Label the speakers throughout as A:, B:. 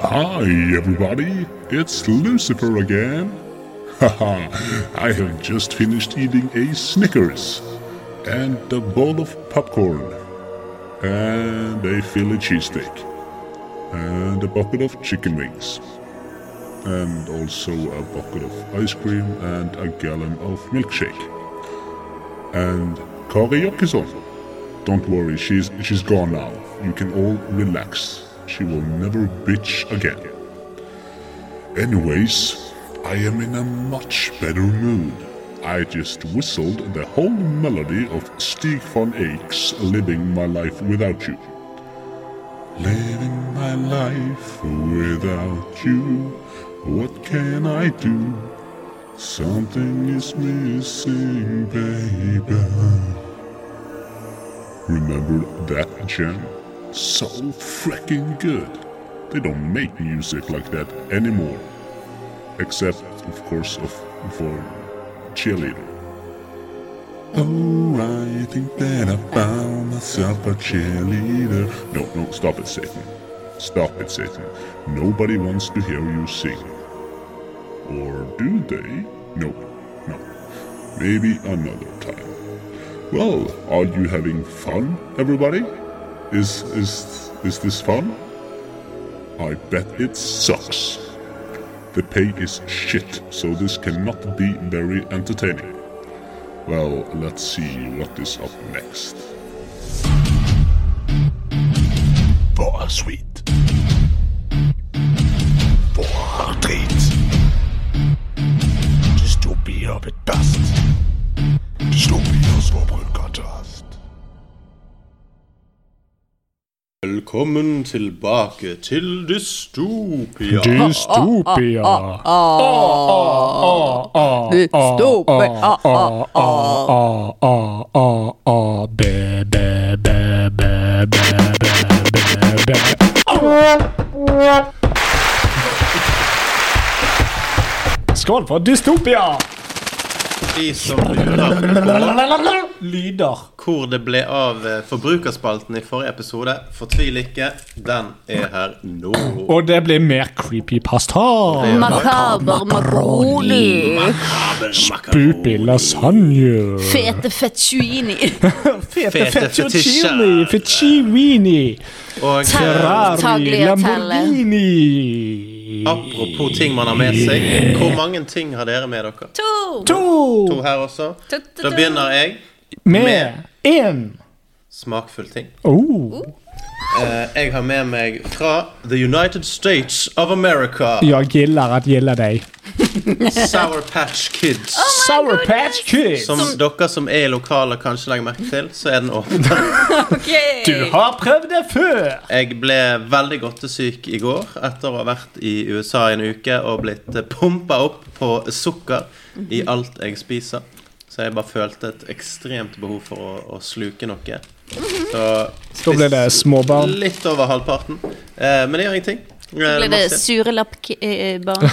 A: Hi, everybody. It's Lucifer again. Haha, I have just finished eating a Snickers and a bowl of popcorn and a Philly cheesesteak and a bucket of chicken wings and also a bucket of ice cream and a gallon of milkshake. And Kari Jokison. Don't worry, she's she's gone now. You can all relax. She will never bitch again. Anyways, I am in a much better mood. I just whistled the whole melody of Stieg von Eyck's Living My Life Without You. Living my life without you, what can I do? Something is missing, baby. Remember that jam? So freaking good. They don't make music like that anymore. Except, of course, of, for cheerleader. Oh, I think that I found myself a cheerleader. No, no, stop it, Satan. Stop it, Satan. Nobody wants to hear you sing. Or do they? No, no. Maybe another time. Well, are you having fun, everybody? Is is is this fun? I bet it sucks. The pay is shit, so this cannot be very entertaining. Well, let's see what is up next.
B: Bare sweet. Bare drit. Dystopier bedast. Dystopiers forbrukertast.
C: Velkommen tilbake til Dystopia.
D: Dystopia.
E: Stoppe. Ah, ah.
D: Skål for dystopia!
C: De som lurer
D: Lyder.
C: hvor det ble av eh, forbrukerspalten i forrige episode, fortvil ikke. Den er her nå.
D: Og det blir mer creepypasta.
E: Makaber makaroni.
D: Bupi lasagne.
E: Fete fettuini.
D: Fete
C: Fete
D: fettuccini.
C: fettuccini.
D: Fettuccini.
C: Og eh,
D: Ferrari.
E: Tagliatelle.
D: Lamborghini.
C: apropos ting man har med seg, hvor mange ting har dere med dere?
E: To.
D: To
C: To her også.
E: To, to, to.
C: Da begynner jeg.
D: med én.
C: Smakfull ting.
D: Oh.
C: Eh, Jeg har med meg fra The United States of America.
D: Jeg gillar at gilla deg.
E: Oh
C: Sour Patch Kids.
D: Ah. Sour Patch Kids.
C: Som dere som er i lokalet kanskje legger merke til, så er den åpen.
E: Okay.
D: Du har prøvd det før.
C: Jeg ble veldig godtesyk i går etter å ha vært i USA i en uke og blitt pumpa opp på sukker
E: Mhm.
C: i alt jeg spiser. Så jeg bare følte et ekstremt behov for å, å sluke noe.
E: Mhm.
C: Så
D: Da ble det småbarn.
C: litt over halvparten. Eh, men det gjør ingenting. Eh,
E: Så ble det surelapp-barn.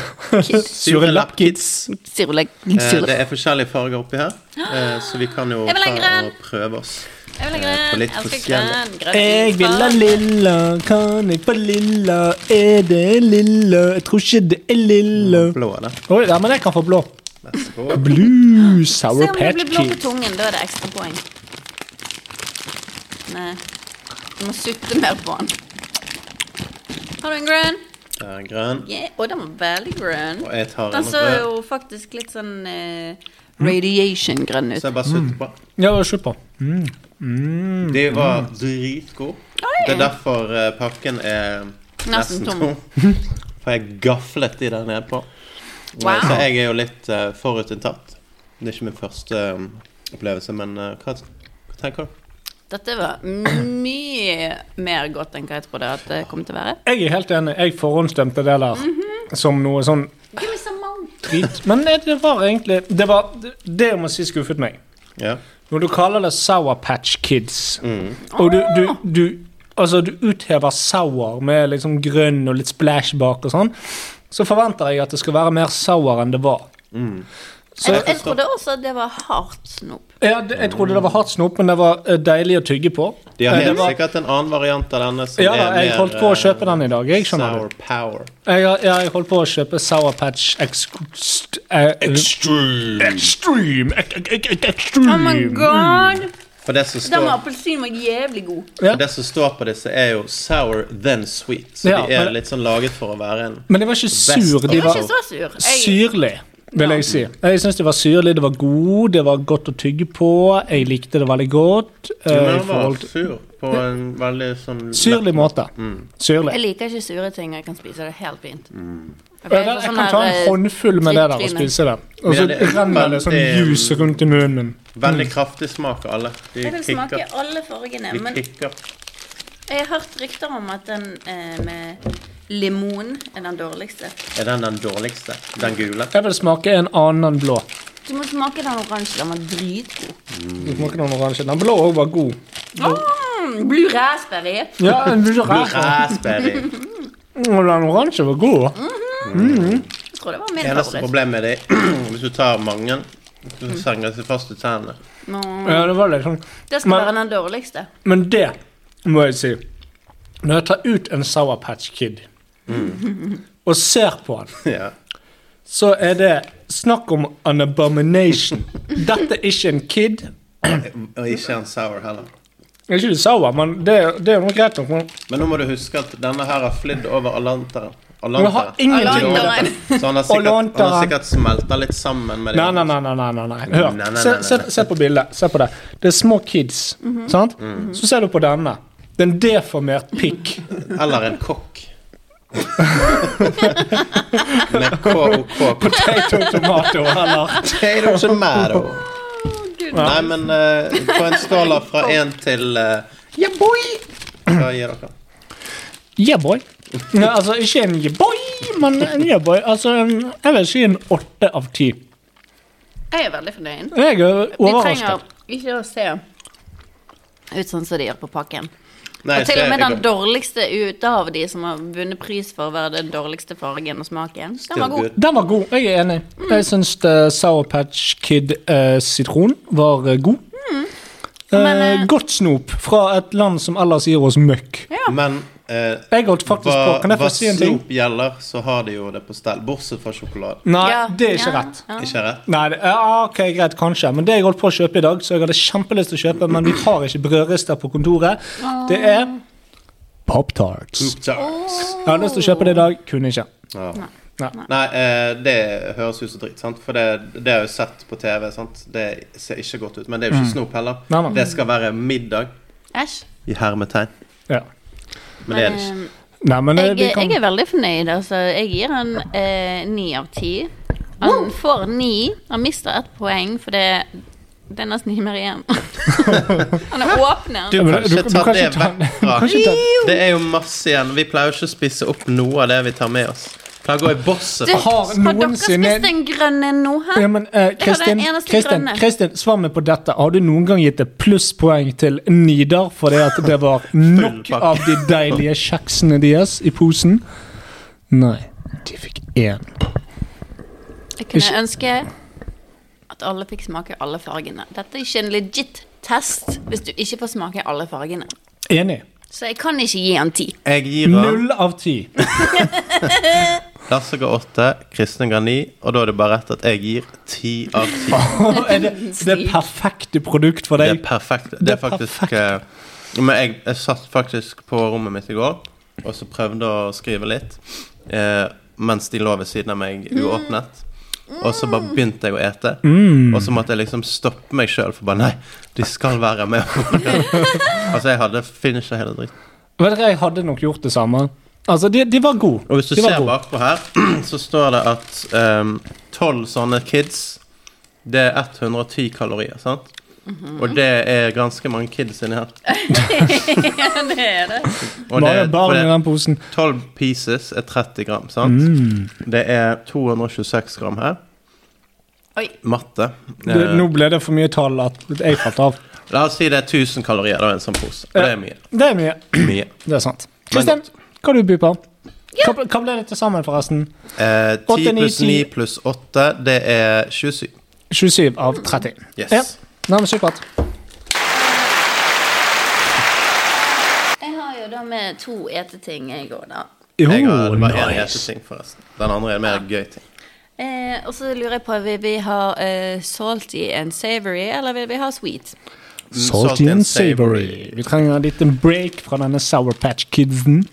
D: Sure lappkids.
E: Surelapp.
C: Eh, det
E: surelapp-
C: er forskjellige farger oppi her, eh, så vi kan jo
E: Jeg vil ha
C: ta
E: grønn.
C: og prøve oss.
E: Jeg vil ha
C: eh, på
E: grønn.
C: litt
E: Jeg skal
C: forskjellig.
E: grønn. grønn.
D: Jeg vil ha lilla, kan jeg få lilla? Er det lilla? Jeg tror ikke det er lilla.
C: Blå er det.
D: Oi, ja, men jeg kan få blå.
C: Vær så god.
D: Blue Sour
E: Se om det
D: Patch
E: blir blå på
D: Kids.
E: tungen. Da er det ekstra poeng. Nei. Du må sutte mer på den. Har du en grønn?
C: Der er grønn.
E: Yeah. Å, den var veldig grønn.
C: Og jeg tar
E: Den
C: en
E: så
C: rød,
E: jo faktisk litt sånn eh, radiation-grønn ut.
C: så jeg bare sutter
D: Mm.
C: på.
D: Ja, slutt på.
C: De var
D: Mm.
C: dritgode.
E: Oi.
C: Det er derfor eh, pakken er nesten
E: Nesten tom.
C: tom. For jeg gaflet de der nede på.
E: Wow.
C: Så jeg er jo litt eh, forutinntatt. Det er ikke min første eh, opplevelse, men eh, hva, hva tenker du?
E: Dette var mye mer godt enn hva jeg trodde at det kom til å være.
D: Jeg er helt enig. Jeg forhåndsstemte det der
E: Mhm.
D: som noe sånn
E: Give me some more.
D: drit. Men det det var egentlig Det var det- det jeg må si skuffet meg.
C: Ja.
D: Når du kaller det Sour Patch Kids, og du, du, du, altså, du uthever sour med liksom grønn og litt splash bak og sånn, så forventer jeg at det skal være mer sour enn det var. Så-
F: jeg, jeg trodde også at det var hardt snop.
D: Ja, det- jeg trodde det var hardt snop, men det var eh, deilig å tygge på.
C: De har
D: Eh, det
C: helt
D: var-
C: sikkert en annen variant av denne som
D: Ja da,
C: er eh,
D: jeg holdt på å kjøpe den i dag. Jeg skjønner det.
C: Sour Power.
D: Jeg, har- ja, jeg holdt på å kjøpe Sour Patch Extreme
B: Extreme.
D: Extreme! ek- ek- ek- ek- Extreme!
F: Oh my god!
C: For det som
F: Den med
C: står
F: appelsin var jævlig god.
D: Ja.
C: det som står på disse, er jo sour then sweet. Så
D: Ja,
C: de er
D: men-
C: litt sånn laget for å være en
D: Men de var ikke sur.
C: Det
D: De
F: Jeg var
D: var
F: ikke så sur. Jeg,
D: syrlig, vil jeg si. Jeg syns de var syrlig, de var gode, det var godt å tygge på. Jeg likte det veldig godt. eh,
C: Men
D: i
C: han var
D: forhold til
C: sur på en veldig sånn
D: Syrlig måte.
F: jeg
D: Syrlig.
F: liker ikke sure ting, og jeg kan spise det helt fint. Ok,
D: Jeg,
F: så
D: Mm. jeg
F: sånn
D: kan ta
F: her,
D: en
F: eh,
D: håndfull med det der og
F: trykklyne.
D: spise det. Og
C: Men
D: så
C: det er
D: renner det sånn
C: veldig-
D: juice rundt i munnen min.
C: Veldig
D: Mm.
C: kraftig smak av alle. De
F: Jeg vil smake
C: kicker.
F: alle fargene,
C: De
F: men
C: kicker.
F: jeg har hørt rykter om at den eh, med limon er den dårligste.
C: Er den den dårligste? Den gule?
D: Jeg vil smake en annen enn blå.
F: Du må smake den oransje. Den var dritgod.
D: Du smaker den oransje. Den blå òg var god.
F: Mm, blue raspberry.
D: Ja, den blir så rar.
C: Raspberry.
D: Og den oransje var god.
F: Mm. Jeg tror det var min
C: Eneste
F: favoritt.
C: problemet er hvis du tar mange,
D: Mm.
C: så senger det seg fast i tennene.
F: Nå,
D: Ja, det var litt sånn.
F: Det skal
D: Men-
F: være den dårligste.
D: Men det må jeg si. Når jeg tar ut en Sour Patch Kid og ser på den,
C: Ja.
D: så er det snakk om an abomination. Dette er ikke en kid.
C: Og ikke en sour heller.
D: Det er ikke det sour, men det, det er noe greit nok. Men
C: Men nå må du huske at denne her har flydd over Atlanteren.
D: men det har ingenting med det
F: Atlanteren.
C: Så han har sikkert, han har
D: Atlanteren.
C: sikkert smelta litt sammen med de
D: Nei, nei, nei, nei, nei, nei, nei. Hør,
C: Nei, nei,
D: se,
C: nei,
D: se,
C: nei.
D: se på bildet. Se på det. Det er små kids,
F: Mhm.
D: sant?
C: Mhm.
D: Så ser du på denne. Det er en deformert pikk.
C: Eller en kokk. med KOK.
D: Potato tomato, eller?
C: Potato tomato. Nei, men eh, på en skala fra én til eh,
D: Yeah, boy!
C: Hva gir dere?
D: Yeah, boy. Nei, altså, ikke en yeah, boy, men en yeah, boy. Altså, en, jeg vil si en åtte av ti.
F: Jeg er veldig fornøyd.
D: Jeg er
F: Vi
D: overrasket.
F: trenger ikke å se ut sånn som de gjør på pakken.
C: Nei,
F: Og til
C: så
F: og med
C: jeg-
F: den dårligste ute av de som har vunnet pris for å være den dårligste fargen og smaken. Den var god.
C: Good.
D: Den var god. Jeg er enig.
F: Mm.
D: Jeg syns eh, Sour Patch Kid eh, sitron var eh, god.
F: Mm. Men,
D: eh,
F: eh,
D: godt snop fra et land som ellers gir oss møkk.
C: Men eh,
D: Jeg holdt faktisk på. Kan
C: hva,
D: jeg få
C: hva
D: si en ting?
C: snop gjelder, så har de jo det på stell. Bortsett fra sjokolade.
D: Nei,
F: Ja,
D: det er ikke
F: ja,
D: rett.
F: ja.
C: Ikke rett?
D: Nei, det, ja, ok, greit, kanskje. Men det jeg holdt på å kjøpe i dag, så jeg hadde kjempelyst til å kjøpe, men vi har ikke brødrister på kontoret, det er Pop-tarts. Jeg hadde lyst til å kjøpe det i dag, kunne ikke.
C: Ja.
D: Nei.
C: Nei, eh, det høres ut som dritt, sant? For det, det har jeg jo sett på TV, sant? Det ser ikke godt ut. Men det er jo ikke snop heller.
D: Mm. Nei, nei.
C: Det skal være middag
F: Æsj.
C: i hermetegn.
D: Ja.
C: Men det er det ikke.
F: Eh,
D: Nei, men eh,
F: Jeg,
D: vi kan
F: jeg er veldig fornøyd. Altså. Jeg gir han eh, ni av ti. Han får ni. Han mister ett poeng, for det, det er nesten ikke mer igjen. han er åpner.
C: Du
D: men
C: kan
D: du-
C: ikke
D: du
C: ta
D: kan
C: det
D: ikke ta-
C: vekk fra
D: du kan ikke ta-
C: Det er jo masse igjen. Vi pleier jo ikke å spise opp noe av det vi tar med oss. Pleier å gå i bosset.
F: Du,
C: faktisk.
D: Har
F: har dere
D: noensinne-
F: spist den grønne nå, hæ?
D: ja, men, eh, Kristin,
F: den eneste
D: Kristin,
F: grønne.
D: Kristin, svar meg på dette. Har du noen gang gitt et plusspoeng til Nidar fordi at det var nok
C: pakke.
D: av de deilige kjeksene deres i posen? Nei, de fikk én.
F: Jeg kunne
D: Ikke-
F: ønske at alle fikk smake alle fargene. Dette er ikke en legit test hvis du ikke får smake alle fargene.
D: Enig.
F: Så jeg kan ikke gi han ti.
C: Jeg gir han
D: Null av ti.
C: Lasse ga åtte, Kristin ga ni, og da er det bare rett at jeg gir ti av ti.
D: er det det perfekte produkt for
C: Det er
D: deg.
C: perfekt. Det
D: Det
C: er
D: er
C: faktisk eh, Men jeg, jeg satt faktisk på rommet mitt i går og så prøvde å skrive litt eh, mens de lå ved siden av meg uåpnet. Og så bare begynte jeg å ete,
D: Mm.
C: og så måtte jeg liksom stoppe meg sjøl. For bare nei, de skal være med. altså, jeg hadde finisha hele dritten.
D: Vet dere, Jeg hadde nok gjort det samme. Altså, De, de var gode.
C: Og hvis du
D: de var
C: ser
D: gode.
C: bakpå her, så står det at eh, tolv sånne kids Det er 110 kalorier, sant? Og det er ganske mange kids inni her.
F: Ja, det er det.
C: Og
D: Bare
C: det- for
D: barn
C: det-
D: i den posen.
C: 12 pieces er 30 gram, sant?
D: Mm.
C: Det er 226 gram her.
F: Oi.
C: Matte.
D: Det,
C: Eh,
D: nå ble det for mye tall at jeg falt av.
C: La oss si det er 1000 kalorier da, i en sånn pose. Og det er mye.
D: Det er mye.
C: mye.
D: Det er sant.
C: Men
D: Kristin,
C: godt.
D: hva du byr på? Hva, hva ble det til sammen, forresten?
C: Eh, 10
D: Åtte, ni,
C: pluss
D: ti.
C: 9 pluss 8, det er 27.
D: 27 av 30.
C: Yes.
D: Ja. Nei, men supert.
E: Jeg har jo da med to eteting, jeg òg, da.
C: Jeg har
D: Jo,
C: det var en
D: Oh, nice.
C: heteting, forresten. Den andre er en mer gøy ting.
E: Eh, og så lurer jeg på vil vi ha eh, salty and savory, eller vil vi ha sweet?
D: Salty and savory. Vi trenger en liten break fra denne Sour Patch Kidsen.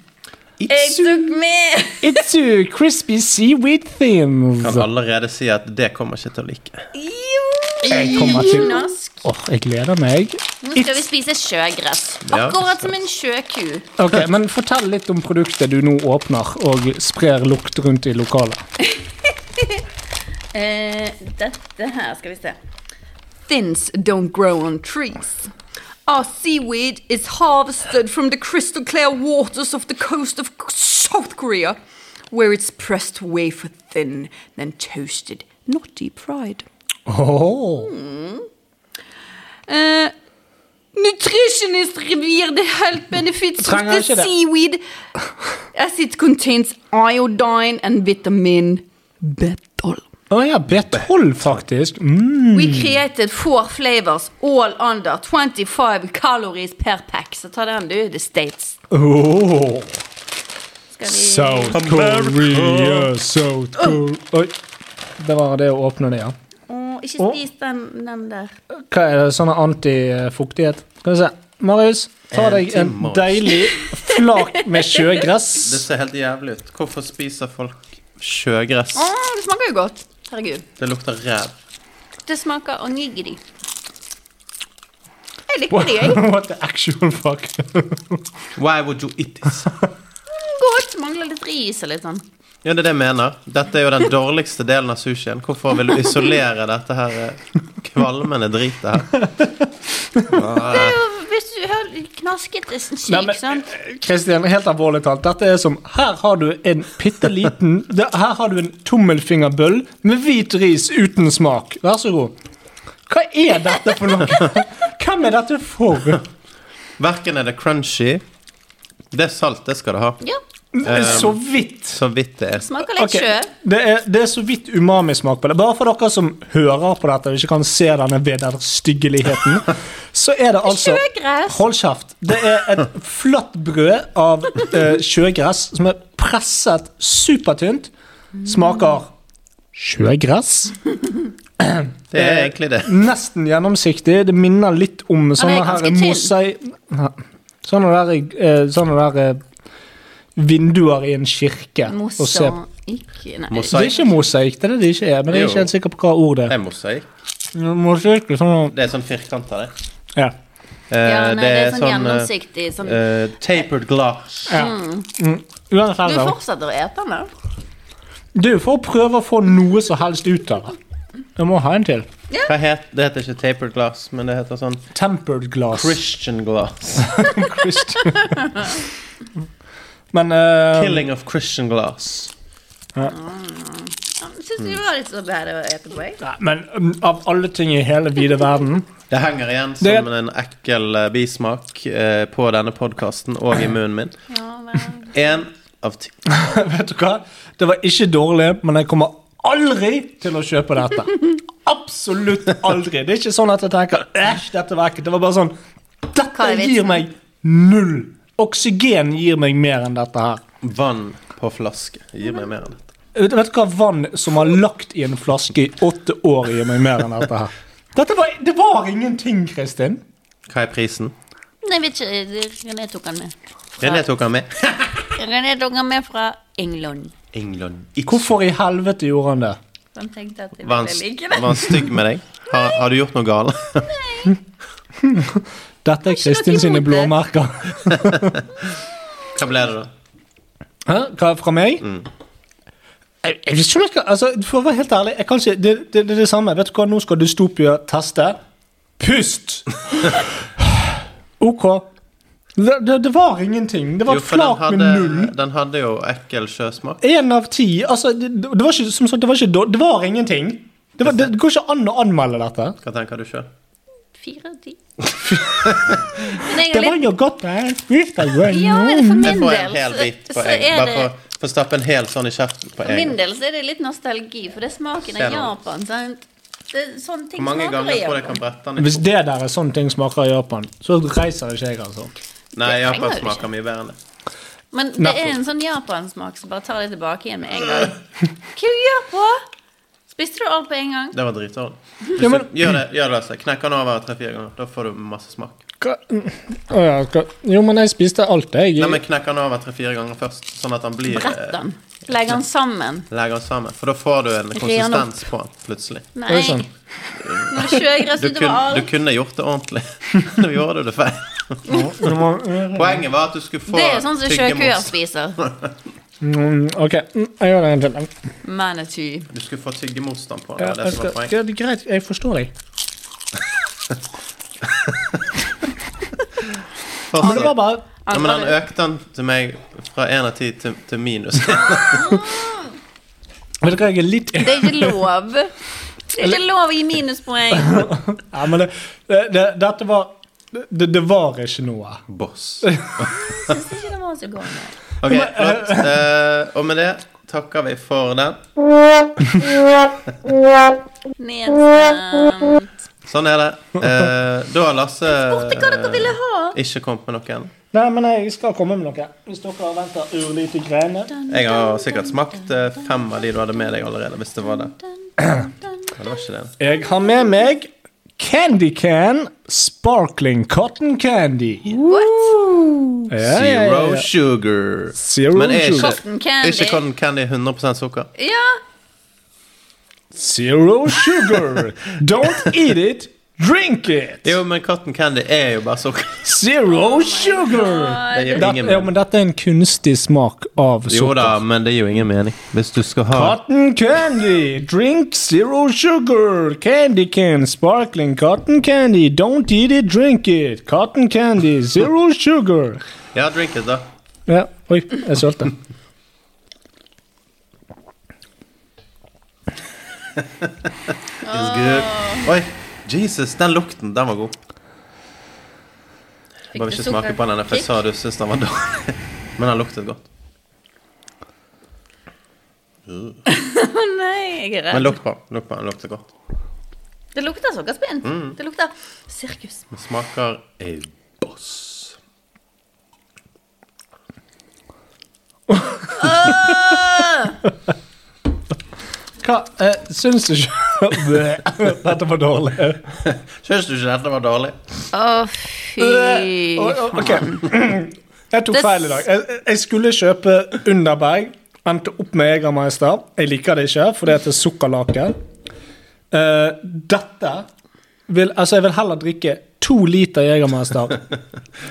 E: Jeg tok med!
D: It's a crispy seaweed thins.
C: Kan allerede si at det kommer ikke til å like.
E: Jo!
D: Jeg kommer til Åh,
E: Jonask.
D: jeg gleder meg.
E: Nå skal vi spise sjøgress.
C: Ja.
E: Akkurat som en sjøku.
D: Ok, Men fortell litt om produktet du nå åpner og sprer lukt rundt i lokalet.
E: Eh, dette her skal vi se. Thins don't grow on trees. Our seaweed is harvested from the crystal clear waters of the coast of South Korea, where it's pressed wafer thin, then toasted, not deep fried.
D: Oh.
E: Eh, nutritionist revere the health benefits of
D: Trenger
E: the
D: ikke det.
E: seaweed as it contains iodine and vitamin B12.
D: Å ja, B12, faktisk. Mm.
E: We created four flavors, all under 25 calories per pack. Så ta den, du. The States.
D: Oh.
E: Skal vi
D: South Korea, South Korea Oi. Det var det å åpne det, ja.
E: Å, Ikke spis den, den der.
D: Hva er det, sånn antifuktighet? Skal vi se. Marius, ta deg en
C: Anti-mos.
D: deilig flak med sjøgress.
C: Det ser helt jævlig ut. Hvorfor spiser folk sjøgress?
E: Å, det smaker jo godt. Herregud.
C: Det lukter ræv.
E: Det smaker onigiri. Jeg likte det, jeg.
D: What the actual fuck?
C: Why would you eat this?
E: Godt. Mangler litt ris og litt sånn.
C: Ja, det er det jeg mener. Dette er jo den dårligste delen av sushien. Hvorfor vil du isolere dette her eh, kvalmende dritet her?
E: Det er jo hvis du har knasket det sånn
D: Nei, men-
E: sykt, sant.
D: Kristian, helt alvorlig talt, dette er som Her har du en bitte liten det- Her har du en tommelfingerbøll med hvit ris uten smak. Vær så god. Hva er dette for noe? Hvem er dette for?
C: Verken er det crunchy Det er salt, det skal det ha.
E: Ja.
D: Så vidt.
C: Så vidt det er.
E: Smaker litt
D: Ok,
E: sjø.
D: Det er, det er så vidt umami-smak på det. Bare for dere som hører på dette og ikke kan se denne vederstyggeligheten, så er det altså
E: Sjøgress.
D: Hold kjeft. Det er et flatt brød av eh, sjøgress som er presset supertynt. Smaker sjøgress.
C: Det er egentlig det.
E: Mm.
D: Nesten gjennomsiktig. Det minner litt om sånne
E: ganske
D: her
E: tynn.
D: mosai... Nei. Sånne der, eh, sånne der eh, vinduer i en kirke. å se på.
E: Mosaikk Nei.
D: Det er ikke mosaikk, det er det det ikke er. Men jeg er
C: Jo.
D: ikke helt sikker på hva ord det
C: Det
D: er.
C: er mosaikk.
D: Mosaikk, sånn,
C: Det er sånn firkanta, det.
D: ja.
C: Eh,
E: Ja, nei, det er sånn
C: eh,
E: gjennomsiktig sånn
C: eh, tapered glass.
D: ja. Mm. Uansett,
E: Du
D: da.
E: fortsetter å ete den, da?
D: Du får prøve å få noe som helst ut av det. Jeg må ha en til.
C: Hva het, det heter ikke tapered glass, men det heter sånn
D: Tempered glass.
C: Christian glass.
D: Christ. Men eh,
C: Killing of Christian glass.
E: Syns du det var litt så bedre å ete på, jeg?
D: nei, Men mm, av alle ting i hele vide verden
C: Det henger igjen
D: Det-
C: som en ekkel eh, bismak eh, på denne podkasten og i munnen min.
E: Ja, vel.
C: Én av ti.
D: Vet du hva? Det var ikke dårlig, men jeg kommer aldri til å kjøpe dette. Absolutt aldri. Det er ikke sånn at jeg tenker Æsj, dette var ekkelt. Det var bare sånn Dette
E: Hva er vitsen?
D: gir meg null. Oksygen gir meg mer enn dette her.
C: Vann på flaske. Gi meg mer enn dette.
D: Vet, vet du hva vann som har lagt i en flaske i åtte år, gir meg mer enn dette her? Dette var, det var ingenting, Kristin.
C: Hva er prisen?
E: Nei, jeg vet ikke. det- René tok den med.
C: René tok han med.
E: René tok den med fra England.
C: England. Ikke
D: Hvorfor i helvete gjorde han det?
E: Han tenkte at jeg
C: Var
E: ville
C: han,
E: like
C: var
E: det.
C: han stygg med deg? Har, har du gjort noe galt?
D: Dette er Kristin
E: noe
D: sine
E: imot det.
D: blåmerker.
C: Hva ble det, da?
D: Hæ? Hva er fra meg?
C: Mm.
D: Jeg, jeg vet ikke om jeg skal altså, For å være helt ærlig, jeg kan ikke, det, det, det er det samme. Vet du hva, nå skal dystopia teste. Pust! ok. Det, det, det var ingenting. Det var
C: Jo,
D: et
C: for den
D: flak
C: hadde,
D: med null.
C: den hadde jo ekkel sjøsmak.
D: Én av ti. Altså, det, det var ikke, som sagt, det var ikke dår- Det var ingenting. Det, var, det går ikke an å anmelde dette.
C: Hva tenker du sjøl?
E: Fire av ti. Men jeg
D: Det
E: er
D: var
E: litt
D: jo godt. eh, fint, det var
E: Ja,
D: noe.
E: men for
C: Jeg
E: min
C: får en
E: del
C: hel bit
E: så,
C: på
E: så
C: en.
E: er
C: Bare
E: det
C: for, for å stappe en hel sånn i kjeften på
E: For min
C: en.
E: del så er det litt nostalgi, for det er smaken
C: Ser
E: av
C: du?
E: Japan, sant?
F: Det, sånne ting
C: Hvor mange
F: smaker
C: ganger
F: i
C: tror jeg
F: Japan.
C: kan brette den?
D: Hvis det der er sånne ting smaker i Japan, så reiser ikke jeg, altså.
C: Nei,
F: Det trenger
C: Japan
F: du
C: smaker mye bedre enn det.
F: Men det
D: Nettopp.
F: er en sånn japansmak som bare tar det tilbake igjen med en gang. Hva du gjør på? Spiste du alt på en gang?
C: Det var dritdårlig.
D: Ja, men,
C: Gjør det, gjør det altså. Knekk den over tre-fire ganger. Da får du masse smak.
D: hva, Å ja, hva, jo, men jeg spiste alt, jeg.
C: Nei, men Knekk den over tre-fire ganger først, sånn at den blir
F: Brett
C: eh,
F: den. Legg den sammen.
C: Legger den sammen. For da får du en konsistens på den plutselig.
F: Nei.
D: Oi, sånn.
F: Nå sjøgress
C: Du, kun, du
F: utover alt.
C: kunne gjort det ordentlig. Nå gjorde du det feil.
D: Nå må-
C: Poenget var at du skulle få
F: Det er sånn som sjøkuer
C: tyggemos.
F: spiser.
D: Mm, OK, mm, jeg gjør det en til.
F: Manatee.
C: Du skulle få tyggemotstand på
D: Ja,
C: den. Det var
D: jeg
C: det som
D: skal,
C: var poenget.
D: ja, det er greit, jeg forstår deg. Men det var
C: Fortsatt.
D: bare
C: Ja, men han økte den til meg fra én av ti til, til minus.
D: Vet du hva, jeg er litt
F: Det er ikke lov. Det er ikke lov å gi minuspoeng.
D: Ja, men det, det, det, dette var det, det var ikke noe.
C: Boss.
F: Jeg synes ikke det var så god.
C: Ok, flott. Eh, og med det takker vi for den.
F: Nedstemt.
C: Sånn er det. Eh, da har Lasse eh,
F: Borte hva dere ville ha.
C: ikke kommet med noen.
D: Nei, men jeg skal komme med noe. Hvis dere venter ørlite greiene
C: Jeg har sikkert smakt eh, fem av de du hadde med deg allerede, hvis det var det. Men det var ikke det.
D: Jeg har med meg Candy Can Sparkling Cotton Candy. Ja, ja, ja,
C: Zero
D: ja.
C: sugar.
D: Zero
C: Men er ikke,
D: sugar.
F: Cotton candy.
C: ikke cotton candy 100 sukker?
F: Ja.
D: Zero sugar. Don't eat it, drink it.
C: Jo, men cotton candy er jo bare sukker.
D: Zero sugar.
C: Det gir
D: Dette,
C: ingen
D: ja, men
C: mening.
D: dette er en kunstig smak av
C: Jo da,
D: sukker.
C: men det gir jo ingen mening. Hvis du skal ha
D: Cotton candy, drink zero sugar. Candy can, sparkling cotton candy. Don't eat it, drink it. Cotton candy, zero sugar.
C: Ja, drink it, da.
D: Ja, oi, jeg sølte.
C: It's good. Oi, Jesus, den lukten, den var god. Jeg bare
F: du
C: ikke smake
F: sukker-
C: på den, for jeg
F: kick?
C: sa du syntes den var dårlig. Men den luktet godt.
F: Nei, jeg er
C: Men
F: redd.
C: lukt på den. Lukt på den, den lukter godt.
F: Det lukter sukkerspinn.
D: Mm.
F: Det lukter sirkus.
C: Den smaker eh, ei boss.
D: Hva eh, syns du ikke Bleh, Dette var dårlig.
C: Syns du ikke dette var dårlig?
F: Å, fy
D: Bleh. Oi, oi, eh, Ok. Jeg tok feil i dag. Jeg, jeg skulle kjøpe Underberg. Endte opp med Jegermeister. Jeg liker det ikke, for det heter sukkerlake. Eh, dette vil, Altså, jeg vil heller drikke to liter Jegermeister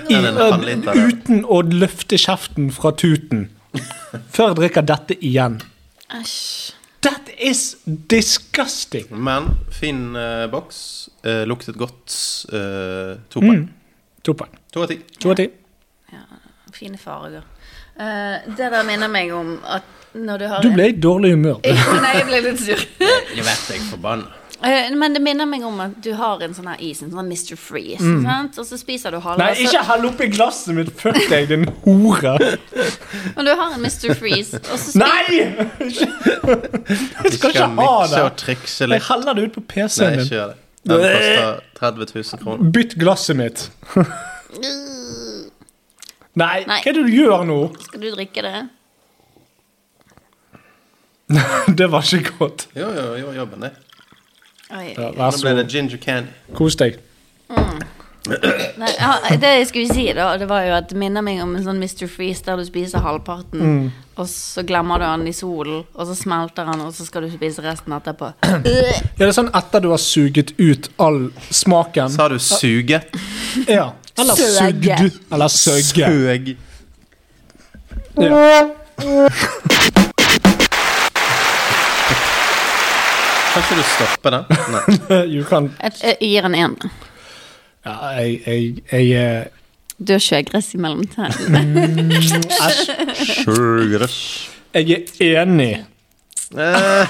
D: i
C: Enn en halv
D: øl
C: liter.
D: uten å løfte kjeften fra tuten før jeg drikker dette igjen.
F: Æsj.
D: That is disgusting.
C: Men fin eh, boks. Eh, luktet godt. eh, to poeng.
D: Mm. To poeng.
C: To av ti.
D: To av ti.
F: Fine farger. Eh, det der minner meg om at når du har
D: Du ble i dårlig humør.
F: Nei, jeg ble litt sur.
C: Jeg vet jeg er forbanna.
F: Eh, Men det minner meg om at du har en sånn her is, en sånn Mr. Freeze, sant? og så spiser du halve.
D: Mm. Nei,
F: og så-
D: ikke hell oppi glasset mitt! Fuck deg, din hore!
F: Men du har en Mr. Freeze, og så spiser
D: Nei! Jeg skal ikke ha
C: mikse og
D: det!
C: trikse
D: Jeg
C: litt.
D: heller det ut på
C: Nei,
D: PC-en
C: ikke
D: min.
C: gjør det. Den koster 30 000 kroner.
D: Bytt glasset mitt. Nei, hva
F: Nei.
D: er det du gjør nå?
F: Skal du drikke det?
D: Det var ikke godt.
C: Jo, jo, jo, jobben, det.
F: Oi.
D: Ja, Vær
C: Nå
D: så
C: ble det
D: god.
C: ginger candy.
D: Kos deg.
F: Nei, ja, det jeg skulle si, da, det var jo at det minner meg om en sånn Mr. Freeze der du spiser halvparten, og så glemmer du han i solen, og så smelter han, og så skal du spise resten etterpå.
D: Ja, det er sånn etter du har suget ut all smaken.
C: Sa du suge?
D: Ja. Eller
F: Søge.
D: sugd. Eller søgge.
C: Søg.
D: Ja.
C: Kan ikke du stoppe den? Nei.
D: You can
F: Jeg, jeg gir han en.
D: Ja, jeg, jeg, jeg eh,
F: Du har sjøgress i mellomtennene.
D: Jeg er enig.
C: Eh,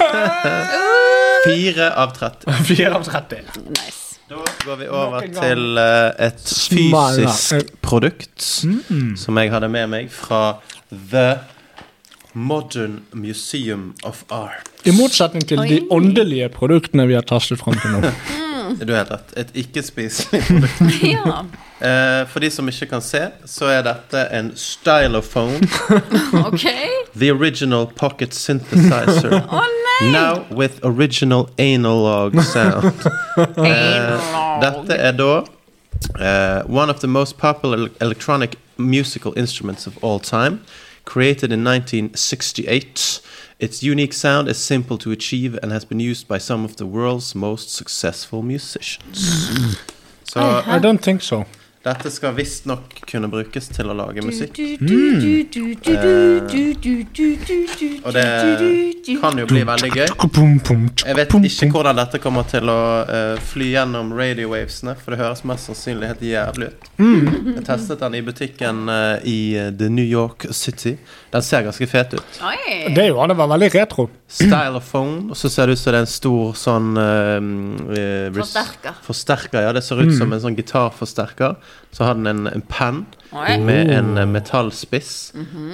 C: Fire av 30.
D: 4 av 30.
F: Nice.
C: Da går vi over
D: Nok en gang.
C: til eh, et
D: Smala.
C: fysisk produkt som jeg hadde med meg fra The Modern Museum of Art.
D: I motsetning til de åndelige produktene vi har tastet fram til nå. Mm.
C: Du har helt rett. Et ikke-spiselig produkt.
F: Ja.
C: Eh, for de som ikke kan se, så er dette en stylophone.
F: OK.
C: The original pocket synthesizer.
F: Å nei!
C: Now with original analog sound. Eh, dette er da eh, one of the most popular el- electronic musical instruments of all time. Created in 1968, its unique sound is simple to achieve and has been used by some of the world's most successful musicians. Så
D: I don't think so.
C: dette skal visstnok kunne brukes til å lage musikk.
D: Hmm.
C: Og det kan jo bli veldig gøy.
D: Bum, bum,
C: Jeg vet ikke hvordan dette kommer til å eh, fly gjennom radiowavesene, for det høres mest sannsynlig helt jævlig ut. Jeg testet den i butikken eh, i eh, The New York City. Den ser ganske fet ut.
F: Oi.
D: Det er jo, det var veldig retro.
C: Stylophone, og så ser det ut som det er en stor sånn eh, eh, res-
F: Forsterker.
C: Forsterker, ja. Det ser ut som en sånn gitarforsterker. Så har den en, en penn
F: Oi. Mhm.
C: med en eh, metallspiss.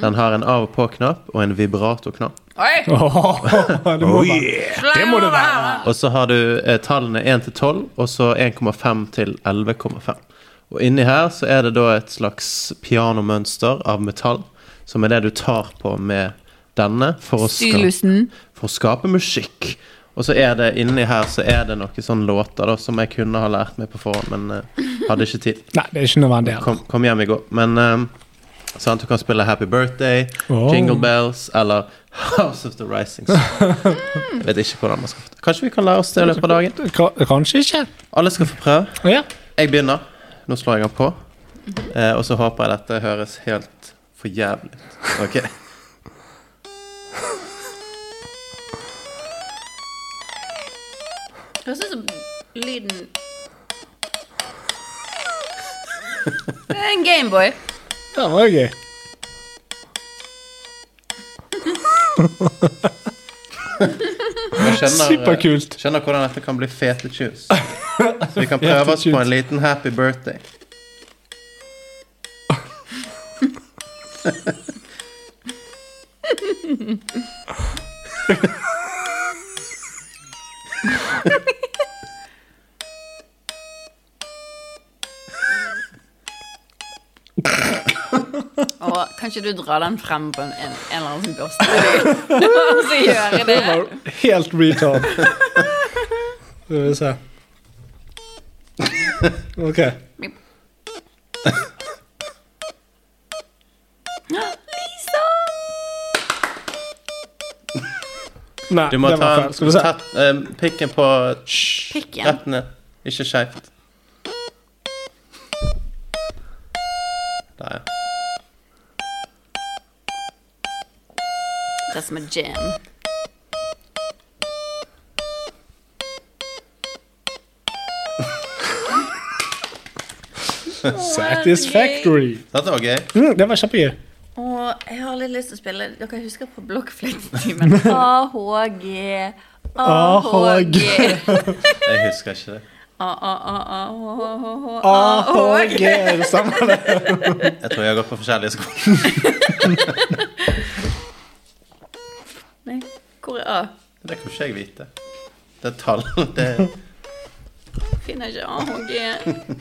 C: Den har en av og på-knapp og en vibrato-knapp.
F: Oi.
D: det, må være. det må det være.
C: Og så har du eh, tallene 1 til 12, og så 1,5 til 11,5. Og inni her så er det da et slags pianomønster av metall, som er det du tar på med denne for å, ska
F: Stylusen.
C: for å skape musikk. Og så er det inni her så er det noen sånne låter da, som jeg kunne ha lært meg på forhånd, men eh, hadde ikke tid.
D: Nei, det er ikke nødvendig. heller.
C: Kom, kom hjem i går. Men eh, sant, du kan spille Happy Birthday,
D: Oh.
C: Jingle Bells eller House of the Rising Sun. Jeg vet ikke hvordan man skal få det. Kanskje vi kan lære oss det i løpet av dagen?
D: Ka- Kanskje ikke.
C: Alle skal få prøve.
D: Ja.
C: Jeg begynner. Nå slår jeg den på. Eh, og så håper jeg dette høres helt for jævlig ut. Ok.
F: Høres ut som lyden Det er en Gameboy.
D: Det var jo gøy.
C: Jeg skjønner, eh,
D: Superkult.
C: skjønner hvordan dette kan bli fete tunes. Så vi kan prøve oss på en liten happy birthday.
F: Og kan ikke du dra den frem på en, en, en eller annen børste? Og så gjøre det.
D: Helt retard. Skal vi se. Ok.
F: Lisa!
D: Nei,
C: Du må
D: det var
C: ta
D: feil. Skal vi se.
C: tett, eh, pikken på
F: Pikken.
C: rett ned. Ikke skeivt. Der, ja.
F: Det er som en jam.
D: Satisfactory.
C: Dette var gøy.
D: Mm, det var kjempegøy.
F: Og jeg har litt lyst til å spille Dere husker på blokkfløytetimen? AHG. AHG.
C: Jeg husker ikke det.
F: AHG.
D: AHG, er det samme det?
C: Jeg tror jeg har gått på forskjellige skoler.
F: Nei, hvor er A?
C: Det kan ikke jeg vite. Det er tall. Det er
F: Finner ikke AHG.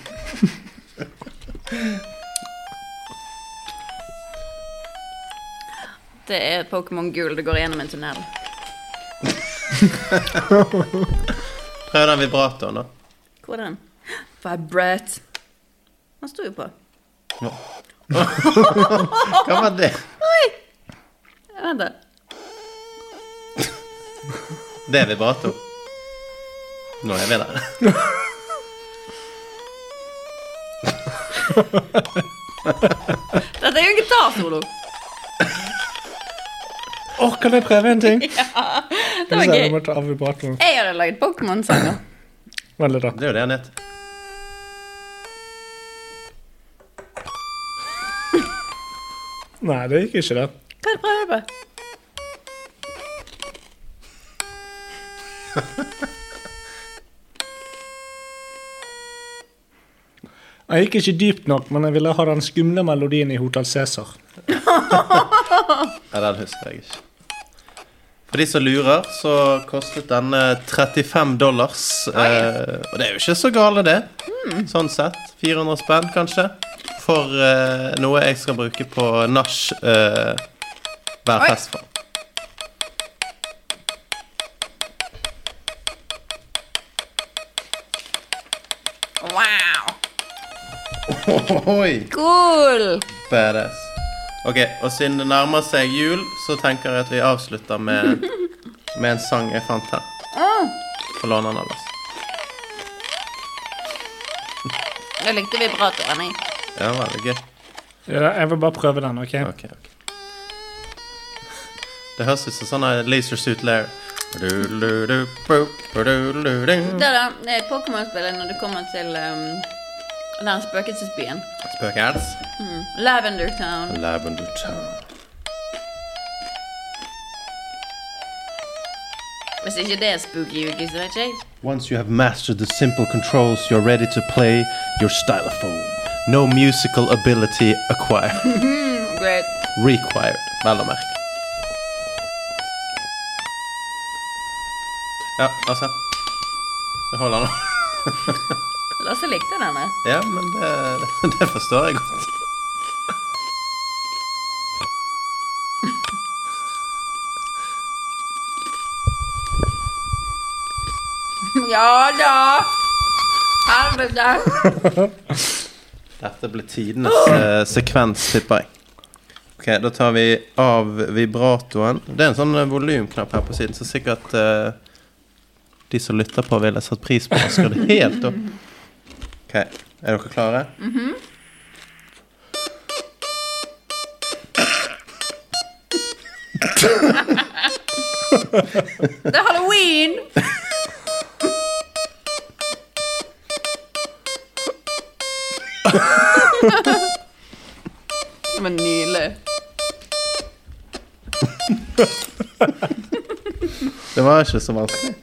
F: Det er Pokémon Gul. Det går gjennom en tunnel.
C: Prøv den vibratoren, da.
F: Hvor er den? Vibrate. Den sto jo på.
C: Hva var det?
F: Vent, da.
C: Det er vibrato. Nå er vi der.
F: Dette er jo en gitarsolo.
D: Åh, kan jeg prøve en ting?
F: Det var
D: Jeg må
F: gøy.
D: ta av vibratoren.
F: Jeg hadde lagd Pokémon-sanger.
D: Vent litt, da.
C: Det er jo det han heter.
D: Nei, det gikk ikke, det.
F: Hva er det prøver på?
D: Jeg gikk ikke dypt nok, men jeg ville ha den skumle melodien i Hotel Cæsar.
C: Nei, den husker jeg ikke. For de som lurer, så kostet denne 35 dollars. Eh, og det er jo ikke så gale, det. Sånn sett. 400 spenn, kanskje. For eh, noe jeg skal bruke på nach eh, hver
E: Oi.
C: fest for.
E: Wow.
C: Oi,
E: Cool.
C: badass. Ok, og siden det nærmer seg jul, så tenker jeg at vi avslutter med, med en sang jeg fant her. Få låne den, Anders.
F: Jeg likte vibratoren, jeg.
C: Ja, veldig gøy.
D: Ja, jeg vil bare prøve den, OK?
C: Ok, ok. Det høres ut som sånn her Laser Suit Lair.
F: Det da, det er Pokémon-spillet når du kommer til um, den spøkelsesbyen.
C: Spøkels.
F: Lavender Town.
C: Lavender Town.
F: Hvis ikke det er spooky uke, så vet ikke jeg.
C: Once you have mastered the simple controls, you're ready to play your stylophone. No musical ability acquired.
F: Great.
C: Required, vel å merke. Ja, altså. Det holder nå.
F: Lasse likte denne.
C: Ja, men det, det forstår jeg godt.
F: Ja da! Helvete!
C: Dette ble tidenes eh, sekvens, tipper jeg. Ok, Da tar vi av vibratoen. Det er en sånn eh, volumknapp her på siden, så sikkert eh, de som lytter på, ville satt pris på å skru det helt opp. Ok, Er dere klare?
D: Mm.
F: Det er halloween!
E: Men nydelig.
C: Det var ikke så vanskelig.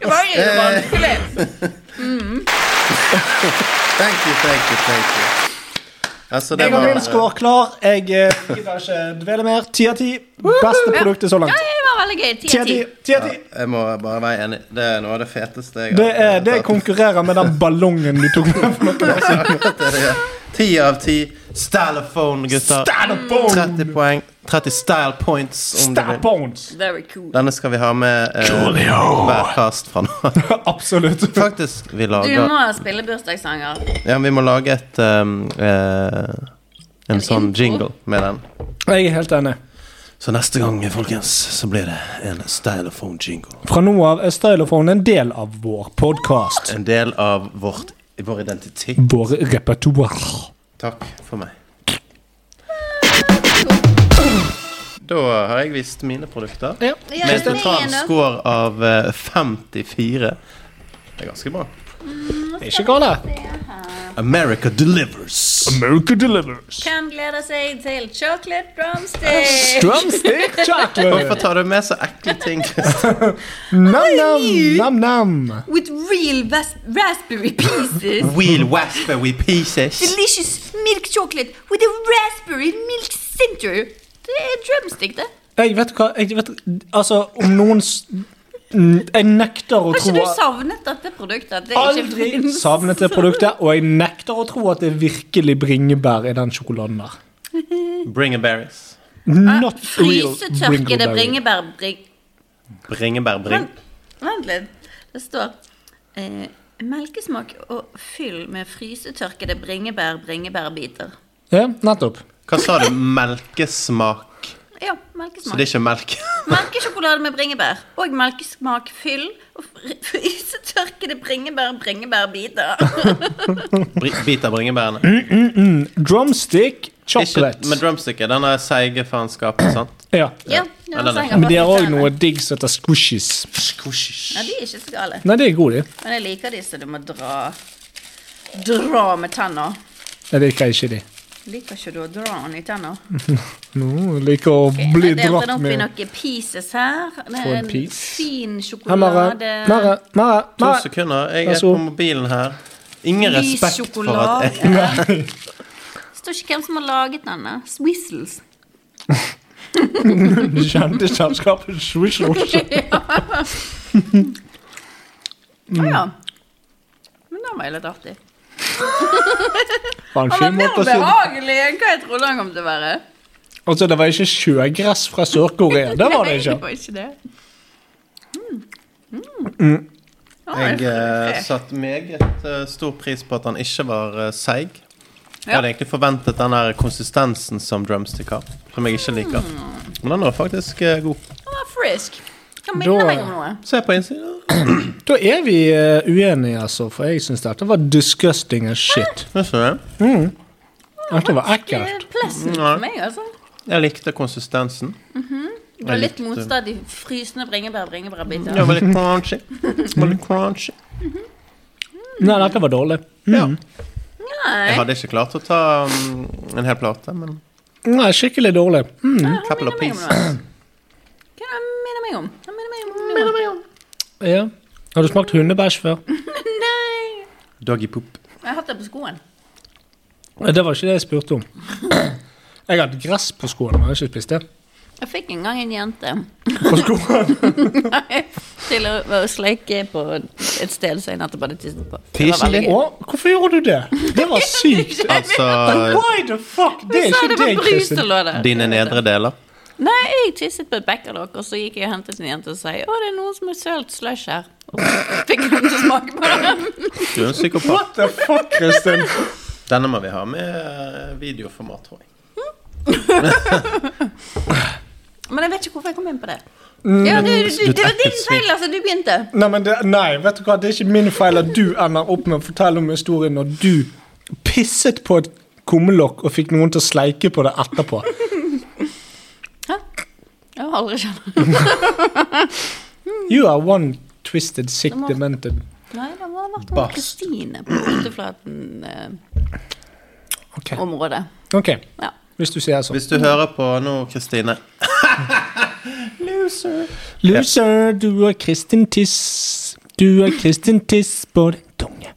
F: Det var jo
D: Eh,
F: vanskelig.
C: Thank you, thank you, thank you. Altså, det
D: Jeg har
C: var
D: min score klar. Jeg eh, gidder ikke dvele mer. Ti av ti. Beste produktet så langt.
F: Det var veldig gøy. Ti
D: Ti
F: av
D: av
F: ti.
D: ti. Ti av ti.
C: Jeg må bare være enig. Det er noe av det feteste jeg
D: Det, er, det
C: tatt.
D: konkurrerer med den ballongen du tok med. for noen år siden.
C: Det er det, ja. Ti av ti. Stylophone, gutter.
D: Stylophone!
C: 30 poeng. 30 style points, om du vil.
D: Stab bones.
F: Very cool.
C: Denne skal vi ha med eh, hver cast fra nå.
D: Absolutt.
C: Faktisk, vi
F: Du
C: lager
F: må spille bursdagssanger.
C: Ja, vi må lage et um, eh, En sånn
F: intro?
C: jingle med den.
D: Jeg er helt enig.
C: Så neste gang, folkens, så blir det en stylophone-jingle.
D: Fra nå av er Stylophone en del av vår podkast.
C: En del av vårt, vår identitet.
D: Vår repertoar.
C: Takk for meg. Da har jeg vist mine produkter. Med en total score av eh, 54. Det er ganske bra.
D: Ikke galt.
C: America delivers.
D: America delivers.
F: Kan glede seg til chocolate drumstick.
D: Drumstick
C: Hvorfor
D: chocolate.
C: tar du med så ekle ting?
D: Nam-nam, nam-nam.
E: With real vas- raspberry pieces.
C: Wheel Westberry Pieces.
E: Delicious milk chocolate with a raspberry milk center.
F: Det er drumstick, det.
D: Jeg vet hva jeg vet, Altså, om noen s- Mm, Jeg nekter å
F: Har
D: tro
F: ikke du
D: at-
F: savnet dette produktet? At det ikke
D: Aldri
F: finnes?
D: savnet det produktet, og jeg nekter å tro at det er virkelig bringebær i den sjokoladen der.
C: Bringeberries.
D: Not real
F: Frysetørkede
D: bringebær.
F: bringebærbring...
C: Bringebær, bring.
F: Vent, vent litt. Det står eh, melkesmak og fyll med frysetørkede bringebær, bringebærbiter.
D: Ja, nettopp.
C: Hva sa du? Melkesmak.
F: Ja,
C: Så
F: melkesmak.
C: det er ikke melk.
F: Melkesjokolade med bringebær. Og melkesmak, fyll og fry- frysetørkede bringebær, bringebærbiter.
C: Bri- Bit av bringebærene.
D: Drumstick
C: Ikke,
D: chocolate.
C: men drumstick er denne seige faenskapen, sant?
D: Ja.
F: Ja, det
C: Ja, den er
F: var sånn jeg
D: Men de
F: bare
D: har òg
F: fikk
D: noe
F: den.
D: digg som heter squishies.
F: Ja, de er ikke så gale.
D: Nei, de er gode, de.
F: Men jeg liker de, så du må dra Dra med tenna.
D: Jeg liker ikke de.
F: Liker ikke du å dra den i tenna?
D: Nå liker å Mm. bli
F: jeg delte den
D: dratt
F: opp i
D: med
F: noen pieces her. Det
D: Få
F: er
D: en
F: en
D: piece.
F: fin
D: Hei, Mare.
F: sjokolade.
D: Mare. Mare.
C: To
D: Mare.
C: sekunder. Jeg
D: Vær
C: er på
D: så god.
C: mobilen her. Ingen
F: Lys
C: respekt for at
F: sjokolade.
C: jeg
F: Det står ikke hvem som har laget denne. Swizzles.
D: Du kjente selskapet Swisher også. Mm.
F: Å ja. Men den var jo litt artig.
D: Var en
F: Han var
D: fin
F: mer
D: måte å si det.
F: behagelig enn hva jeg trodde han kom til å være.
D: Altså, det var ikke sjøgress fra Sør-Korea. Det var det
F: Nei,
D: ikke.
F: var ikke det. Mm.
D: Mm.
C: Jeg eh, satte meget eh, stor pris på at han ikke var eh, seig. Jeg
F: Ja.
C: hadde egentlig forventet den der konsistensen som drumstick har, som jeg ikke liker.
F: Mm.
C: Men den var faktisk eh, god.
F: Han var frisk. Han
D: Da-
F: minner meg om noe.
C: Se på innsiden.
D: Da er vi eh, uenige, altså, for jeg syns dette var disgusting as shit.
C: Synes du det?
D: Dette var ekkelt.
F: Ikke pleasant for meg, altså.
C: Jeg likte konsistensen.
F: Mhm. Det var litt
C: likte-
F: motstand i frysende bringebær, bringebærbiter.
C: Det var litt crunchy. Det var litt crunchy.
D: Nei, dette var dårlig. Mm.
C: Ja.
F: Nei.
C: Jeg hadde ikke klart å ta mm, en hel plate, men
D: Nei, skikkelig dårlig. Mm.
F: Ja, han
C: couple of
F: minner meg om
C: pieces.
F: noe. Hva er det han minner meg om? Han minner meg om noe.
D: Ja. Har du smakt hundebæsj før?
F: Nei.
C: Doggy poop.
F: Jeg har hatt det på skoen.
D: Eh, Det var ikke det jeg spurte om. Jeg hadde gress på skoene, men jeg har ikke spist det.
F: Jeg fikk en gang en jente
D: På skoene?
F: til å, å sleike på et sted som jeg nettopp hadde tisset på. Det var
C: Tissen
F: veldig
C: din?
F: gøy.
D: Å, hvorfor gjorde du det? Det var sykt.
C: Altså
D: Why the fuck? Det er
F: Sa
D: ikke
F: det var
D: deg,
F: brus
D: Kristin.
F: som lå der.
C: eh, dine nedre deler.
F: Nei, jeg tisset på et bekkerlokk, og så gikk jeg og hentet en jente og sa å, det er noen som har sølt slush her. Og så fikk hun til å smake på det.
C: Du er en psykopat.
D: What the fuck, Kristin?
C: Denne må vi ha med eh, videoformat, tror jeg.
F: Men jeg vet ikke hvorfor jeg kom inn på det.
D: Mm.
F: Ja, du, du, det var din feil, altså. Du begynte.
D: Nei, men det, nei, vet du hva, det er ikke min feil at du ender opp med å fortelle om historien når du pisset på et kummelokk og fikk noen til å sleike på det etterpå.
F: Hæ? Jeg har aldri skjønt.
D: You are one twisted, sick, demented.
F: Nei, det må ha vært hun
C: Bast.
F: Kristine på eh, Uteflaten-området.
D: Ok, ok,
F: ja.
D: hvis du sier sånn.
C: Hvis du hører på nå, Kristine
D: Loser, du er Kristin Tiss. Du er Kristin Tiss på din tunge.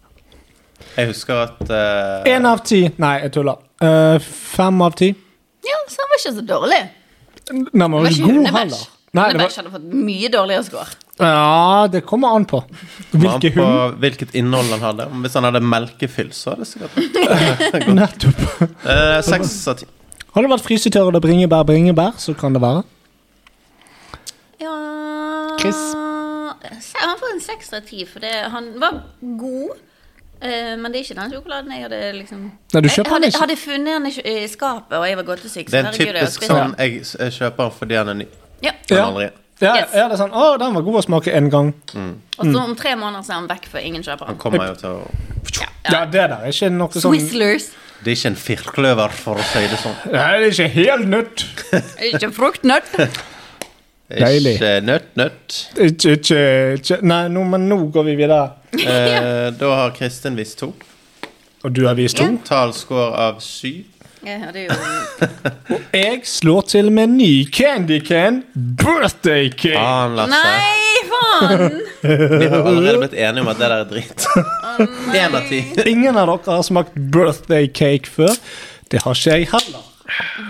C: Jeg husker at eh,
D: Én av ti. Nei, jeg tuller. Eh, fem av ti.
F: ja, så han var ikke så dårlig.
D: Nei, men
F: Det var
D: god
F: ikke hundebæsj.
D: heller. Nei, det var,
F: Hundebæsj hadde fått mye dårligere score.
D: ja, det kommer an på.
C: kom an
D: Hvilke
C: på
D: hund?
C: hvilket innhold han hadde. Om Hvis han hadde melkefyll, så hadde det sikkert
D: Nettopp.
C: Eh, Seks av ti.
D: Har det vært frysetørre og bringebær, bringebær, så kan det være.
F: Ja
D: Chris?
F: Se, Han får en seks av ti, for det, han var god. eh, men det er ikke den sjokoladen jeg hadde liksom
D: Nei, du
F: Jeg
D: kjøper den
F: hadde,
D: ikke.
F: hadde funnet den i kj- i skapet, og jeg var gåtesyk. så
C: Det er en
F: herregud, jeg har
C: typisk
F: spist
C: sånn
F: den.
C: jeg, s- jeg kjøper den fordi han er ny.
F: Ja.
C: Men
D: Ja.
C: aldri.
D: Ja,
F: Yes.
D: ja, det er sånn, å, den var god å smake en gang.
F: Og så
D: Mm.
F: om tre måneder så er han vekk, for ingen kjøper
C: Han
F: den.
C: kommer jo til å
D: Ja, det der er ikke noe sånn
F: Swizzlers.
C: Det er ikke en firkløver, for å si det sånn.
D: Det er ikke helt nytt.
F: Ikke fruktnøtt.
C: Det er
D: Deilig.
C: Ikke nøtt, nøtt.
D: Ikke, ikke, ikke. Nei, nå, men nå går vi videre.
C: Eh, da har Kristin vist to.
D: Og du har vist to.
C: Total score av syv.
F: Jeg hadde jo
D: Jeg slår til med en ny Candy Can birthday cake.
C: Faen, Lasse.
F: Nei, faen!
C: Vi har allerede blitt enige om at det der er dritt. Én av ti.
D: Ingen av dere har smakt birthday cake før. Det har ikke jeg heller.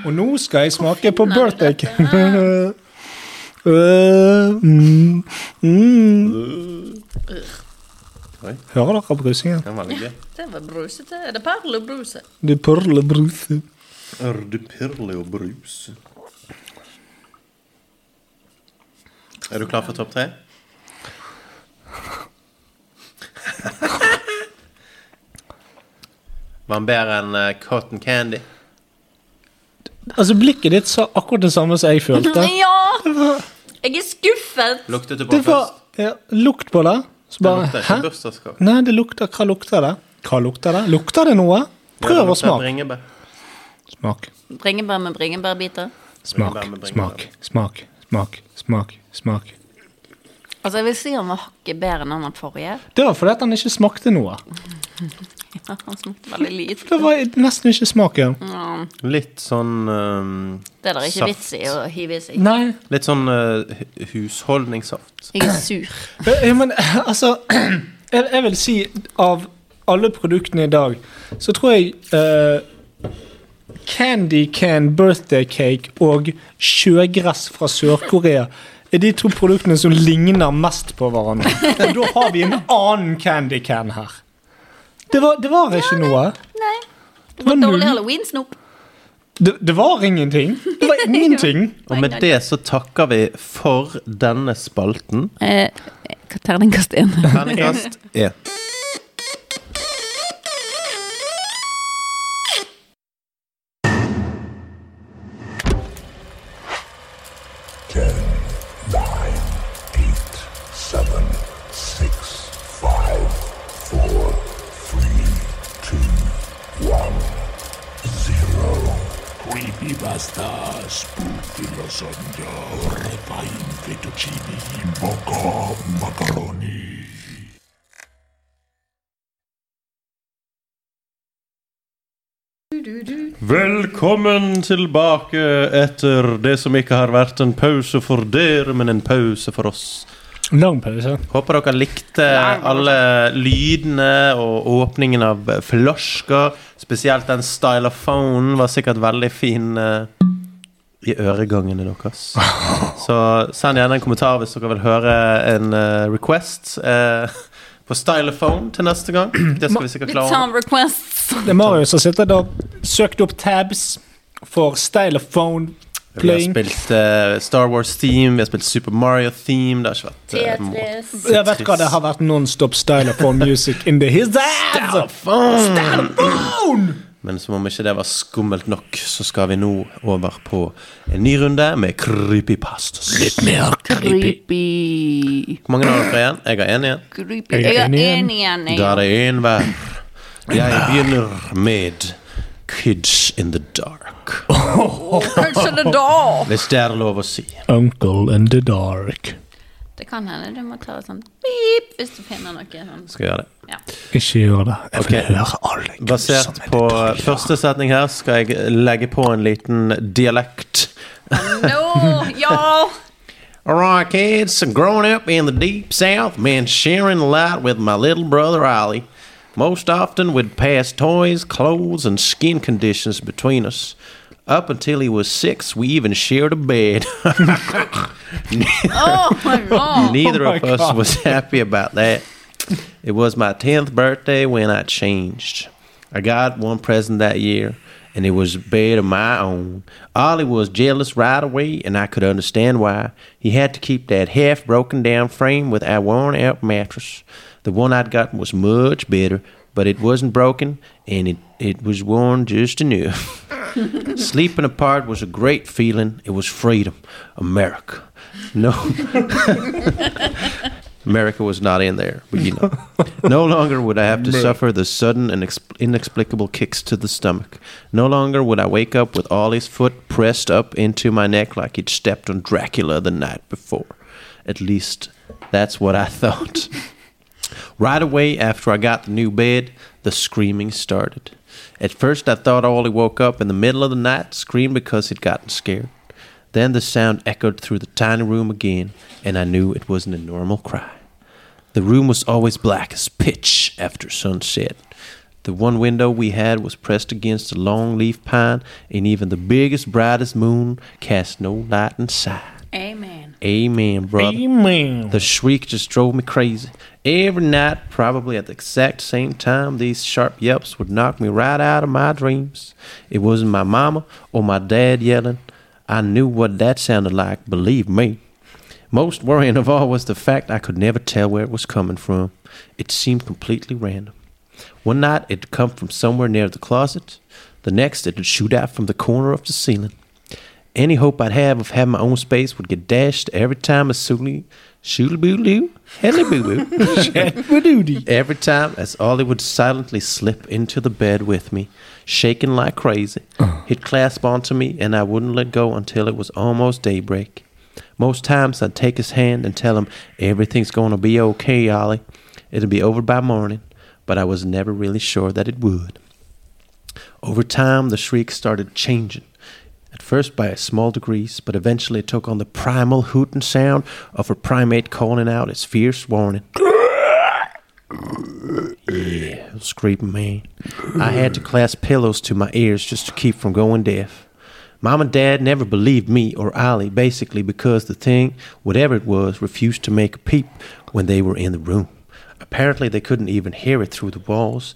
D: Og nå skal jeg smake på birthday cake. Øh, mm, mm.
C: Oi.
D: Hører dere brusingen?
C: Den var litt gøy.
F: Det var brusete. Er det perlebruset?
D: De purler bruser.
C: Ørdeperle og brus. Er du klar for topp tre? Var han bedre enn eh, cotton candy?
D: Altså, blikket ditt sa akkurat det samme som jeg følte.
F: Ja! Jeg er skuffet.
C: Luktet du på
D: Det
C: den
D: var
C: først?
D: ja, lukt på det. Så
C: Det
D: bare,
C: lukter
D: hæ?
C: ikke bursdagskake.
D: Nei, det lukter, hva lukter det? Hva lukter det? Lukter det noe?
C: Det
D: Prøv å
C: lukter
D: smake.
C: bringebær.
D: Smak,
F: Bringebær med bringebærbiter.
D: smak,
C: Bringebær med
D: smak,
C: bringebær.
D: smak, smak, smak, smak.
F: Altså, jeg vil si han var hakket bedre enn han den forrige.
D: Det var fordi at han ikke smakte noe.
F: Ja, han smakte veldig lite.
D: Det var nesten ikke smaken.
F: Ja,
C: Litt sånn ehm,
F: det er da ikke
C: Saft.
F: vits i å hive i seg.
D: Nei.
C: Litt sånn eh, hu- husholdningssaft.
F: Jeg er sur.
D: Ja, men altså jeg, jeg vil si av alle produktene i dag, så tror jeg eh, Candy Can Birthday Cake og sjøgress fra Sør-Korea er de to produktene som ligner mest på hverandre. Og da har vi en annen Candy Can her. Det var, det var ikke noe.
F: Nei.
D: Det var null.
F: Dårlig halloweensnop.
D: Det, det var ingenting. Det var ingenting.
C: Og med det så takker vi for denne spalten.
F: Eh, Terningkast én.
C: Terningkast én.
A: Eight, seven, six, five, four, three, two, one, zero. Creepy basta, spooky lasagna, refine fettuccine, bocca macaroni.
C: Velkommen tilbake etter det som ikke har vært en pause for dere, men en pause for oss.
D: Lang pause.
C: Håper dere likte alle lydene og åpningen av flasker. Spesielt den stylophonen var sikkert veldig fin eh, i øregangene deres. Så send gjerne en kommentar hvis dere vil høre en eh, request eh, på stylophone til neste gang. Det skal vi sikkert
F: Litt
C: klare.
F: sound requests.
D: Det er Mario som sitter der. Søkte opp tabs for stylophone
C: Vi har
D: playing.
C: spilt eh, Star Wars Theme, vi har spilt Super Mario Theme. Det har ikke vært eh, må-
D: Jeg vet hva det har vært nonstop stylophone music in the his ass!
C: Men som om ikke det var skummelt nok, så skal vi nå over på en ny runde med creepypastas.
F: Creepy.
C: Hvor mange har dere igjen? Jeg har én igjen.
F: Creepy. Jeg er enig igjen. jeg.
C: Da er det én hver. Jeg begynner med Kids in the Dark.
E: Kanskje det da
C: Hvis det er lov å si.
D: Uncle in the dark.
F: Det kan hende du må ta et sånt beep hvis du finner noe sånn.
C: Skal jeg gjøre det.
F: Ja.
D: Ikke gjør det. Jeg
C: vil Ok.
D: høre alle
C: Basert på første setning her skal jeg legge på en liten dialekt.
E: No, ja
C: All right, kids. Growing up in the deep south meant sharing a lot with my little brother Ollie. Most often, we'd pass toys, clothes, and skin conditions between us. Up until he was six, we even shared a bed.
F: Oh my god.
C: Neither
D: my
C: of us
D: God.
C: was happy about that. It was my 10th birthday when I changed. I got one present that year, and it was a bed of my own. Ollie was jealous right away, and I could understand why. He had to keep that half broken down frame with our worn out mattress. The one I'd gotten was much better, but it wasn't broken, and it, it was worn just enough. Sleeping apart was a great feeling. It was freedom. America. No. America was not in there, but you know. No longer would I have to suffer the sudden and ex- inexplicable kicks to the stomach. No longer would I wake up with Ollie's foot pressed up into my neck like he'd stepped on Dracula the night before. At least that's what I thought. Right away after I got the new bed, the screaming started. At first, I thought Ollie woke up in the middle of the night, screamed because he'd gotten scared. Then the sound echoed through the tiny room again, and I knew it wasn't a normal cry. The room was always black as pitch after sunset. The one window we had was pressed against a long leaf pine, and even the biggest, brightest moon cast no light inside.
F: Amen.
C: Amen, brother. The shriek just drove me crazy. Every night, probably at the exact same time, these sharp yelps would knock me right out of my dreams. It wasn't my mama or my dad yelling. I knew what that sounded like, believe me. Most worrying of all was the fact I could never tell where it was coming from. It seemed completely random. One night it'd come from somewhere near the closet, the next it'd shoot out from the corner of the ceiling. Any hope I'd have of having my own space would get dashed every time as soon as boo doo, helly boo boo. Every time as Ollie would silently slip into the bed with me, shaking like crazy. He'd clasp onto me and I wouldn't let go until it was almost daybreak. Most times I'd take his hand and tell him everything's gonna be okay, Ollie. It'll be over by morning. but I was never really sure that it would. Over time, the shriek started changing, at first by small degrees, but eventually it took on the primal hooting sound of a primate calling out its fierce warning. Yeah, it was creeping me. I had to clasp pillows to my ears just to keep from going deaf. Mom and Dad never believed me or Ollie, basically because the thing, whatever it was, refused to make a peep when they were in the room. Apparently, they couldn't even hear it through the walls,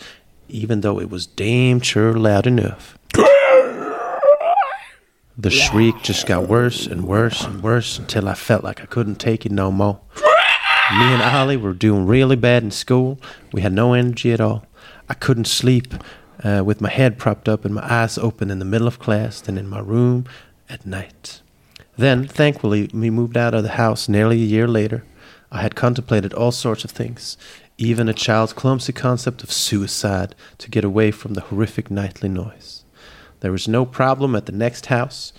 C: even though it was damn sure loud enough. The shriek just got worse and worse and worse until I felt like I couldn't take it no more. Me and Ollie were doing really bad in school. We had no energy at all. I couldn't sleep uh, with my head propped up and my eyes open in the middle of class, then in my room at night. Then, thankfully, we moved out of the house nearly a year later. I had contemplated all sorts of things, even a child's clumsy concept of suicide to get away from the horrific nightly noise. There was no problem at the next house.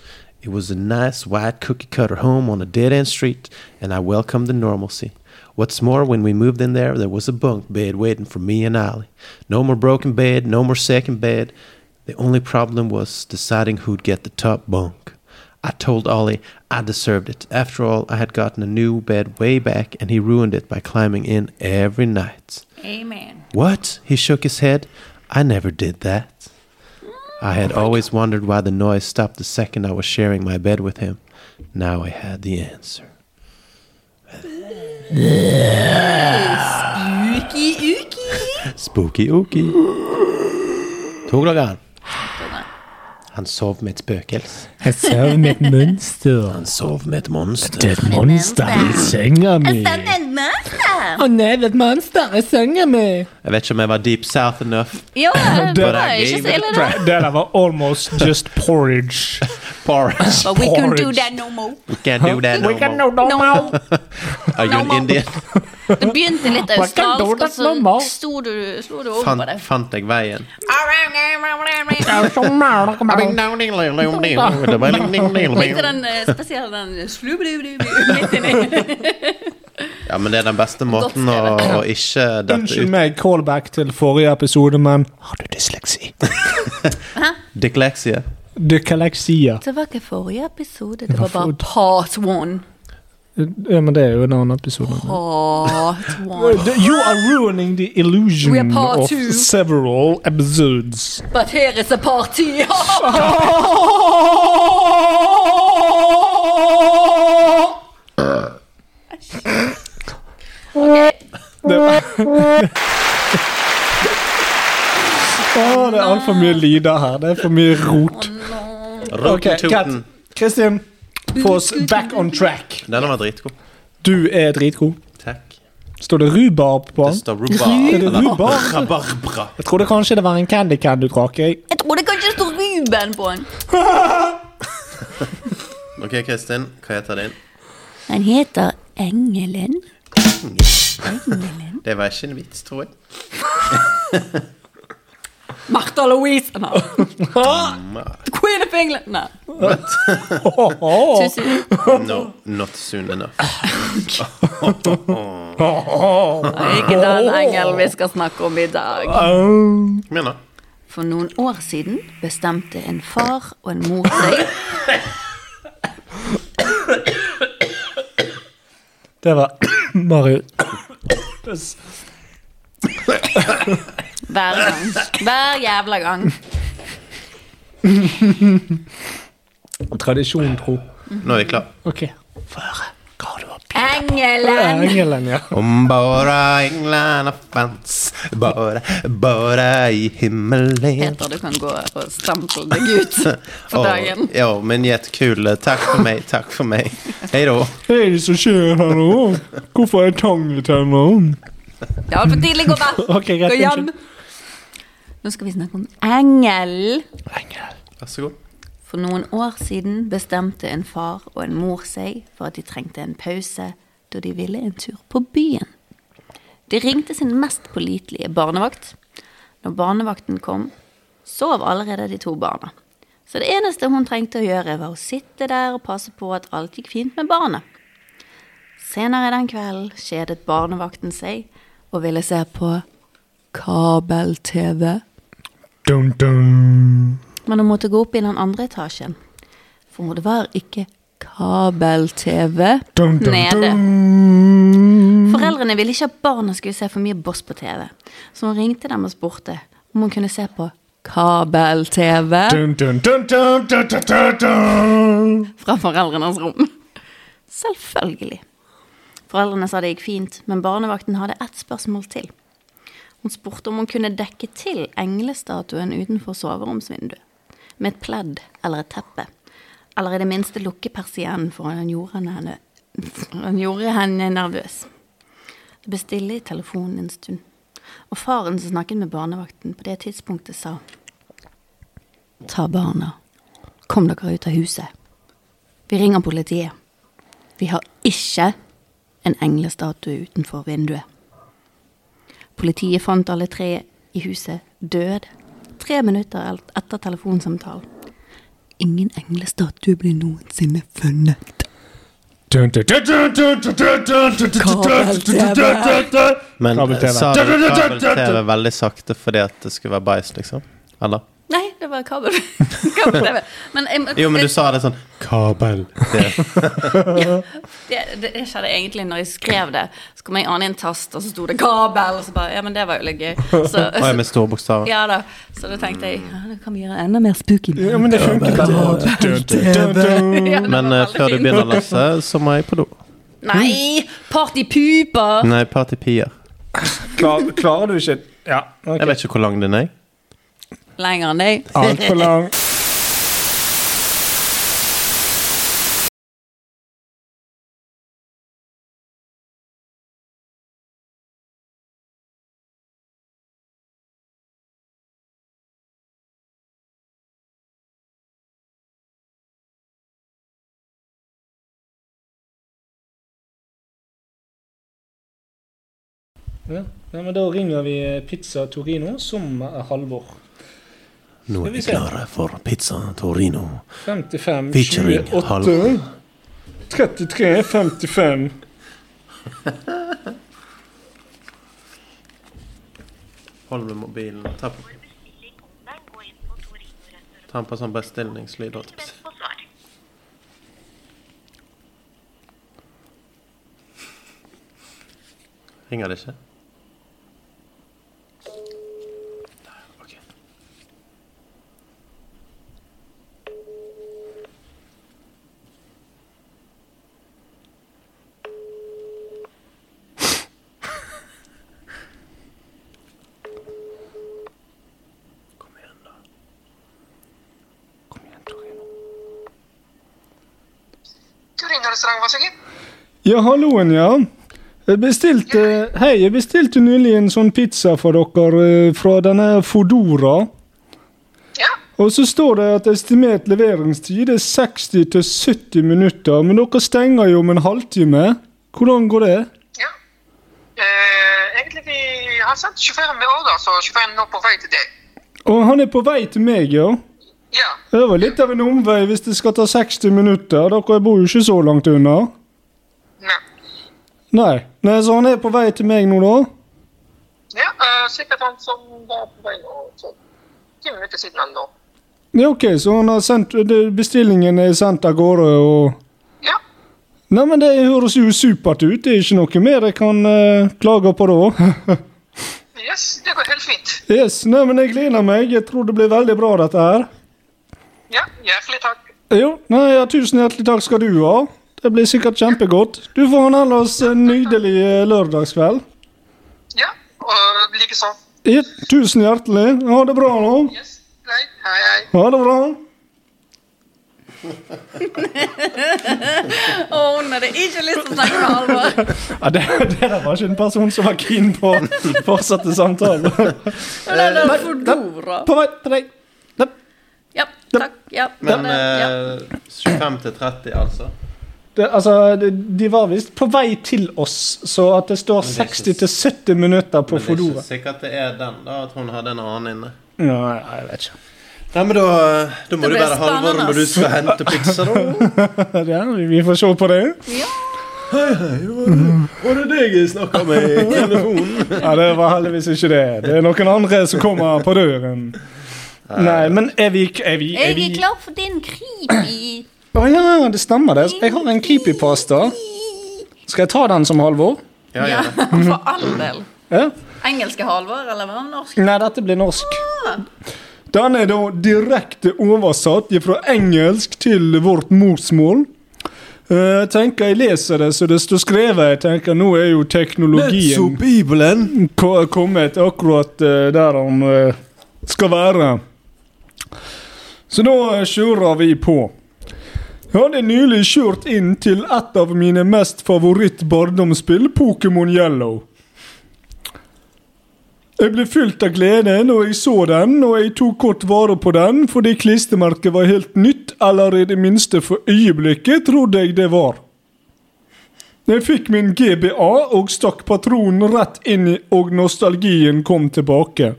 C: It was a nice, white cookie cutter home on a dead end street, and I welcomed the normalcy. What's more, when we moved in there, there was a bunk bed waiting for me and Ollie. No more broken bed, no more second bed. The only problem was deciding who'd get the top bunk. I told Ollie I deserved it. After all, I had gotten a new bed way back, and he ruined it by climbing in every night.
F: Amen.
C: What? He shook his head. I never did that. I had always wondered why the noise stopped the second I was sharing my bed with him. Now I had the answer. Spooky ooky. Tok dere han? Han sov med et spøkelse.
D: Jeg sover med et mønster.
C: Han sov med et monster.
D: Det er et monster i senga mi.
F: en monster!
D: Å nei, det er et monster i senga mi.
C: Jeg vet ikke om jeg var deep south enough.
F: Jo, det var
C: I
F: ikke
C: gave it
F: så ille,
C: a
F: da.
D: Det der var almost just porridge.
C: Porridge.
F: But we couldn't do
D: Porridge.
F: that no more.
C: We can't do that no more.
F: No more.
C: Are you an
F: no.
C: Indian?
F: Det begynte litt
D: We can't do
F: australsk, og
D: that no
F: så
D: more.
F: sto du, slo du over
C: Fant,
F: på det.
C: fant jeg veien?
D: Nei,
F: Likte den eh, spesielt den slubblubblublu midt inni.
C: Ja, men det er den beste måten å, å ikke dette
D: Unnskyld
C: ut.
D: meg, callback til forrige episode, men har du dysleksi?
C: Dysleksie.
D: Dykaleksia.
F: Det var ikke forrige episode, det var
D: var
F: bare part one.
D: Ja, men det er jo en annen episode.
F: Part one.
D: You are ruining the
F: We are
D: illusion
F: part
D: of
F: two.
D: several episodes.
F: But here is a party!
D: Det var Åh, det er altfor mye lyder her. Det er for mye rot. Ok, Kat.
C: Rotentoten.
D: Kristin, få oss back on track.
C: Denne var dritgod.
D: Du er dritgod.
C: Takk.
D: Står det rhubarb på
C: Det
D: den?
C: står rhubarb.
D: Er det rhubarb?
C: Rabarbra.
D: Jeg trodde kanskje det var en Candy Can du drakk. Jeg.
F: Jeg trodde kanskje det sto Ruben på den.
C: Ok, Kristin, hva heter din?
F: Han heter Engelen.
C: Det var ikke en vits, tror jeg.
F: Martha Louise! Nei. Queen of England! Nei.
D: Åh,
F: Tusen.
C: No, not soon enough.
F: Det er ikke den engelen vi skal snakke om i dag.
C: Kom igjen, da.
F: For noen år siden bestemte en far og en mor seg
D: Det var Marius.
F: hver gang. Hver jævla gang.
D: Tradisjon, tro.
C: Nå er vi klar.
D: Ok. Føre. Hva har du opp?
F: Engelen!
D: Engelen, ja.
C: Om bare englene fantes, bare, bare i himmelen
F: Peter, du kan gå og stemple deg ut for dagen.
C: Å, Ja, men jettkul. Takk for meg, takk for meg. Hei da.
D: Hva er det som skjer her nå? Hvorfor er tang i tennene?
F: Det er altfor tidlig å gå vekk.
D: Ok, greit,
F: Gå hjem. Nå skal vi snakke om engel.
D: Engel.
C: Vær så god.
F: For noen år siden bestemte en far og en mor seg for at de trengte en pause da de ville en tur på byen. De ringte sin mest pålitelige barnevakt. Når barnevakten kom, sov allerede de to barna. Så det eneste hun trengte å gjøre, var å sitte der og passe på at alt gikk fint med barnet. Senere den kvelden kjedet barnevakten seg og ville se på
E: kabel-TV.
D: Dun, dun.
F: Men hun måtte gå opp i den andre etasjen. For det var ikke kabel-TV
D: Dun, dun,
F: nede.
D: dun.
F: Foreldrene ville ikke at barna skulle se for mye Boss på TV, så hun ringte dem og spurte om hun kunne se på kabel-TV
D: Dun, dun, dun, dun, dun, dun, dun, dun.
F: fra foreldrenes rom. Selvfølgelig. Foreldrene sa det gikk fint, men barnevakten hadde ett spørsmål til. Hun spurte om hun kunne dekke til englestatuen utenfor soveromsvinduet med et pledd eller et teppe, eller i det minste lukke persiennen, for han gjorde henne, han gjorde henne nervøs. Det ble stille i telefonen en stund, og faren som snakket med barnevakten på det tidspunktet, sa Ta barna. Kom dere ut av huset. Vi ringer politiet. Vi har ikke en englestatue utenfor vinduet. Politiet fant alle tre i huset død tre minutter alt- etter telefonsamtalen. Ingen englestatue ble noensinne funnet.
D: Dun, dun, dun, dun, dun, dun, dun, dun, dun, dun, dun, dun, dun, dun, dun.
C: Men eh,
D: Kabel-TV.
C: sa du kabel-TV veldig sakte fordi at det skulle være bæsj, liksom? Eller?
F: Nei, det var kabel. kabel-TV. Men, jeg-
C: Jo, men du sa det sånn
F: det, det, det skjedde egentlig når jeg skrev det. Så kom jeg an i en tast, og så sto det 'kabel', og så bare Ja, men det var jo litt gøy. Så,
C: Å, jeg med store bokstaver.
F: ja da. så da tenkte jeg ja, det kan vi gjøre enda mer spooky.
D: Ja, men det funket. Dun, dun, dun, dun.
F: Ja, det var
C: Men eh,
F: veldig
C: før du
F: fint.
C: begynner, Lasse, så må jeg på do.
F: Nei! Partypuper!
C: Nei, partypier.
D: Klar, klarer du ikke Ja. ok.
C: Jeg vet ikke hvor lang den er.
F: Lenger enn deg.
D: Altfor lang. Ja, ja, men Da ringer vi Pizza Torino som er Halvor.
G: Nå
D: Skal
G: er
D: vi
G: vi
D: se.
G: klare for pizza Torino.
D: 55,
G: Featuring
D: 28, 33, 55.
C: Hold med mobilen. Ta på Ta den på sånn bestillingslyd. holdt jeg på å si. Ringer det ikke? Der, ok. Kom igjen, da. Kom igjen, Torino.
H: Torino-restaurant, vær så god.
D: Ja, halloen, ja. Jeg bestilte, hei, jeg bestilte nylig en sånn pizza for dere eh, fra denne Fodora.
H: Ja.
D: Og så står det at estimert leveringstid er 60 til 70 minutter, men dere stenger jo om en halvtime. Hvordan går det?
H: ja. Eh, egentlig vi har sendt sjåføren med ordre, så sjåføren er nå på vei til deg.
D: Og han er på vei til meg, ja.
H: Ja.
D: Det var litt av en omvei hvis det skal ta 60 minutter. Dere bor jo ikke så langt unna.
H: Nei.
D: Nei. Nei, så han er på vei til meg nå, da?
H: Ja, eh, sikkert han som var på vei nå. så Ti minutter siden han nå.
D: Ja, ok, så han har sendt, det- bestillingen er sendt av gårde og
H: Ja.
D: Nei, men det høres jo supert ut. Det er ikke noe mer jeg kan eh, klage på da.
H: Yes, det går helt fint.
D: yes, nei, men jeg gleder meg. Jeg tror det blir veldig bra, dette her.
H: Ja, hjertelig takk.
D: Jo, nei, ja, tusen hjertelig takk skal du ha. Det blir sikkert kjempegodt. Du får en ellers en nydelig eh, lørdagskveld.
H: Ja, og sånn. likeså.
D: Ja, tusen hjertelig. Ha det bra nå.
H: Yes. Nei, hei, hei.
D: Ha det bra.
F: Å, hun hadde ikke lyst til å snakke med Halvor.
D: Ja, det, det der var ikke en person som var keen på å fortsette samtalen.
F: Eller
D: nei,
F: Fordora.
D: På vei til deg. Nei.
F: Ja, takk. Ja,
C: Men
F: det- ja.
C: eh, 25 til 30, altså.
D: Det, altså, de, de var visst på vei til oss, så at det står
C: det er ikke-
D: 60 til 70 minutter
C: Men det
D: på
C: er
D: Fodora.
C: ikke sikkert det er den, da, at hun hadde en annen inne.
D: Nei, nei, jeg vet ikke.
C: Nei, men da, eh, da må
F: Det
C: du
F: ble
C: være Halvor
F: spennende,
C: når du
F: ass.
C: skal hente pizza, da.
D: Ja, vi- vi får se på det.
F: ja.
C: Hei, hei, var det, var det deg jeg snakka med i telefonen?
G: Ja, det var heldigvis ikke det. Det er noen andre som kommer på døren. Nei, men er vi Er vi, er
F: Jeg
G: vi?
F: er klar for din creepy
G: Å ja, det stemmer det. Jeg har en creepypasta. Skal jeg ta den som Halvor?
C: Ja,
F: Ja,
C: ja.
F: for all del.
G: Ja.
F: Engelske Halvor, eller hva med norsk?
G: Nei, dette blir norsk. Ah. Den er da direkte oversatt fra engelsk til vårt morsmål. Eh, Jeg tenker jeg leser det så det står skrevet. Jeg tenker Nå er jo teknologien
I: Bibelen!
G: ko- kommet akkurat eh, der han eh, skal være. Så da eh, kjører vi på. Jeg hadde nylig kjørt inn til et av mine mest favoritt barndomsspill, Pokémon Yellow. Jeg ble fylt av glede når jeg så den, og jeg tok godt vare på den fordi klistremerket var helt nytt, eller i det minste for øyeblikket trodde jeg det var. Jeg fikk min GBA og stakk patronen rett inn i, og nostalgien kom tilbake.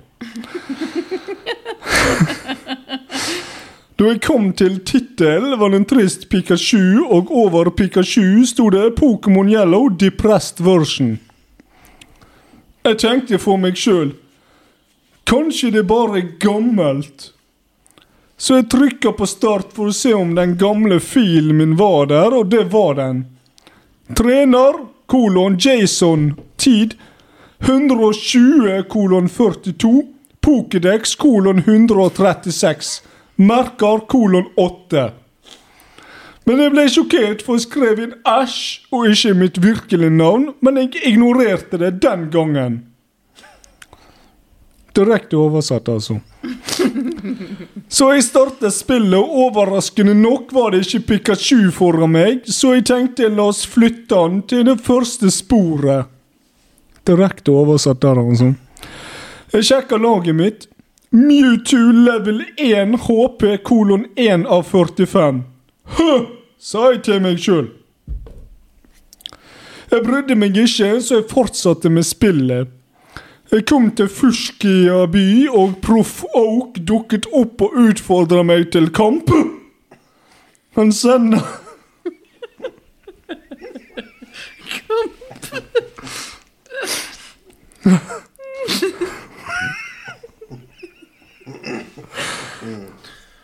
G: Da jeg kom til tittel, var det en trist Pikachu, og over Pikachu sto det Pokémon Yellow Depressed Version. Jeg tenkte for meg sjøl Kanskje det bare er gammelt? Så jeg trykka på start for å se om den gamle filen min var der, og det var den. Trener, kolon Jason, tid 120 kolon 42, Pokédex kolon 136, merker kolon 8. Men jeg ble sjokkert, for jeg skrev inn æsj og ikke mitt virkelige navn, men jeg ignorerte det den gangen. Direkte oversatt, altså. Så jeg startet spillet, og overraskende nok var det ikke Pikachu foran meg, så jeg tenkte la oss flytte han til det første sporet. Direkte oversatt der, altså. Jeg sjekker laget mitt. Mewtwo level 1 HP kolon 1 av 45. Hø, sa jeg til meg sjøl. Jeg brydde meg ikke, så jeg fortsatte med spillet. Jeg kom til Fushkia by, og Proff Oak dukket opp og utfordra meg til kamp. Han sender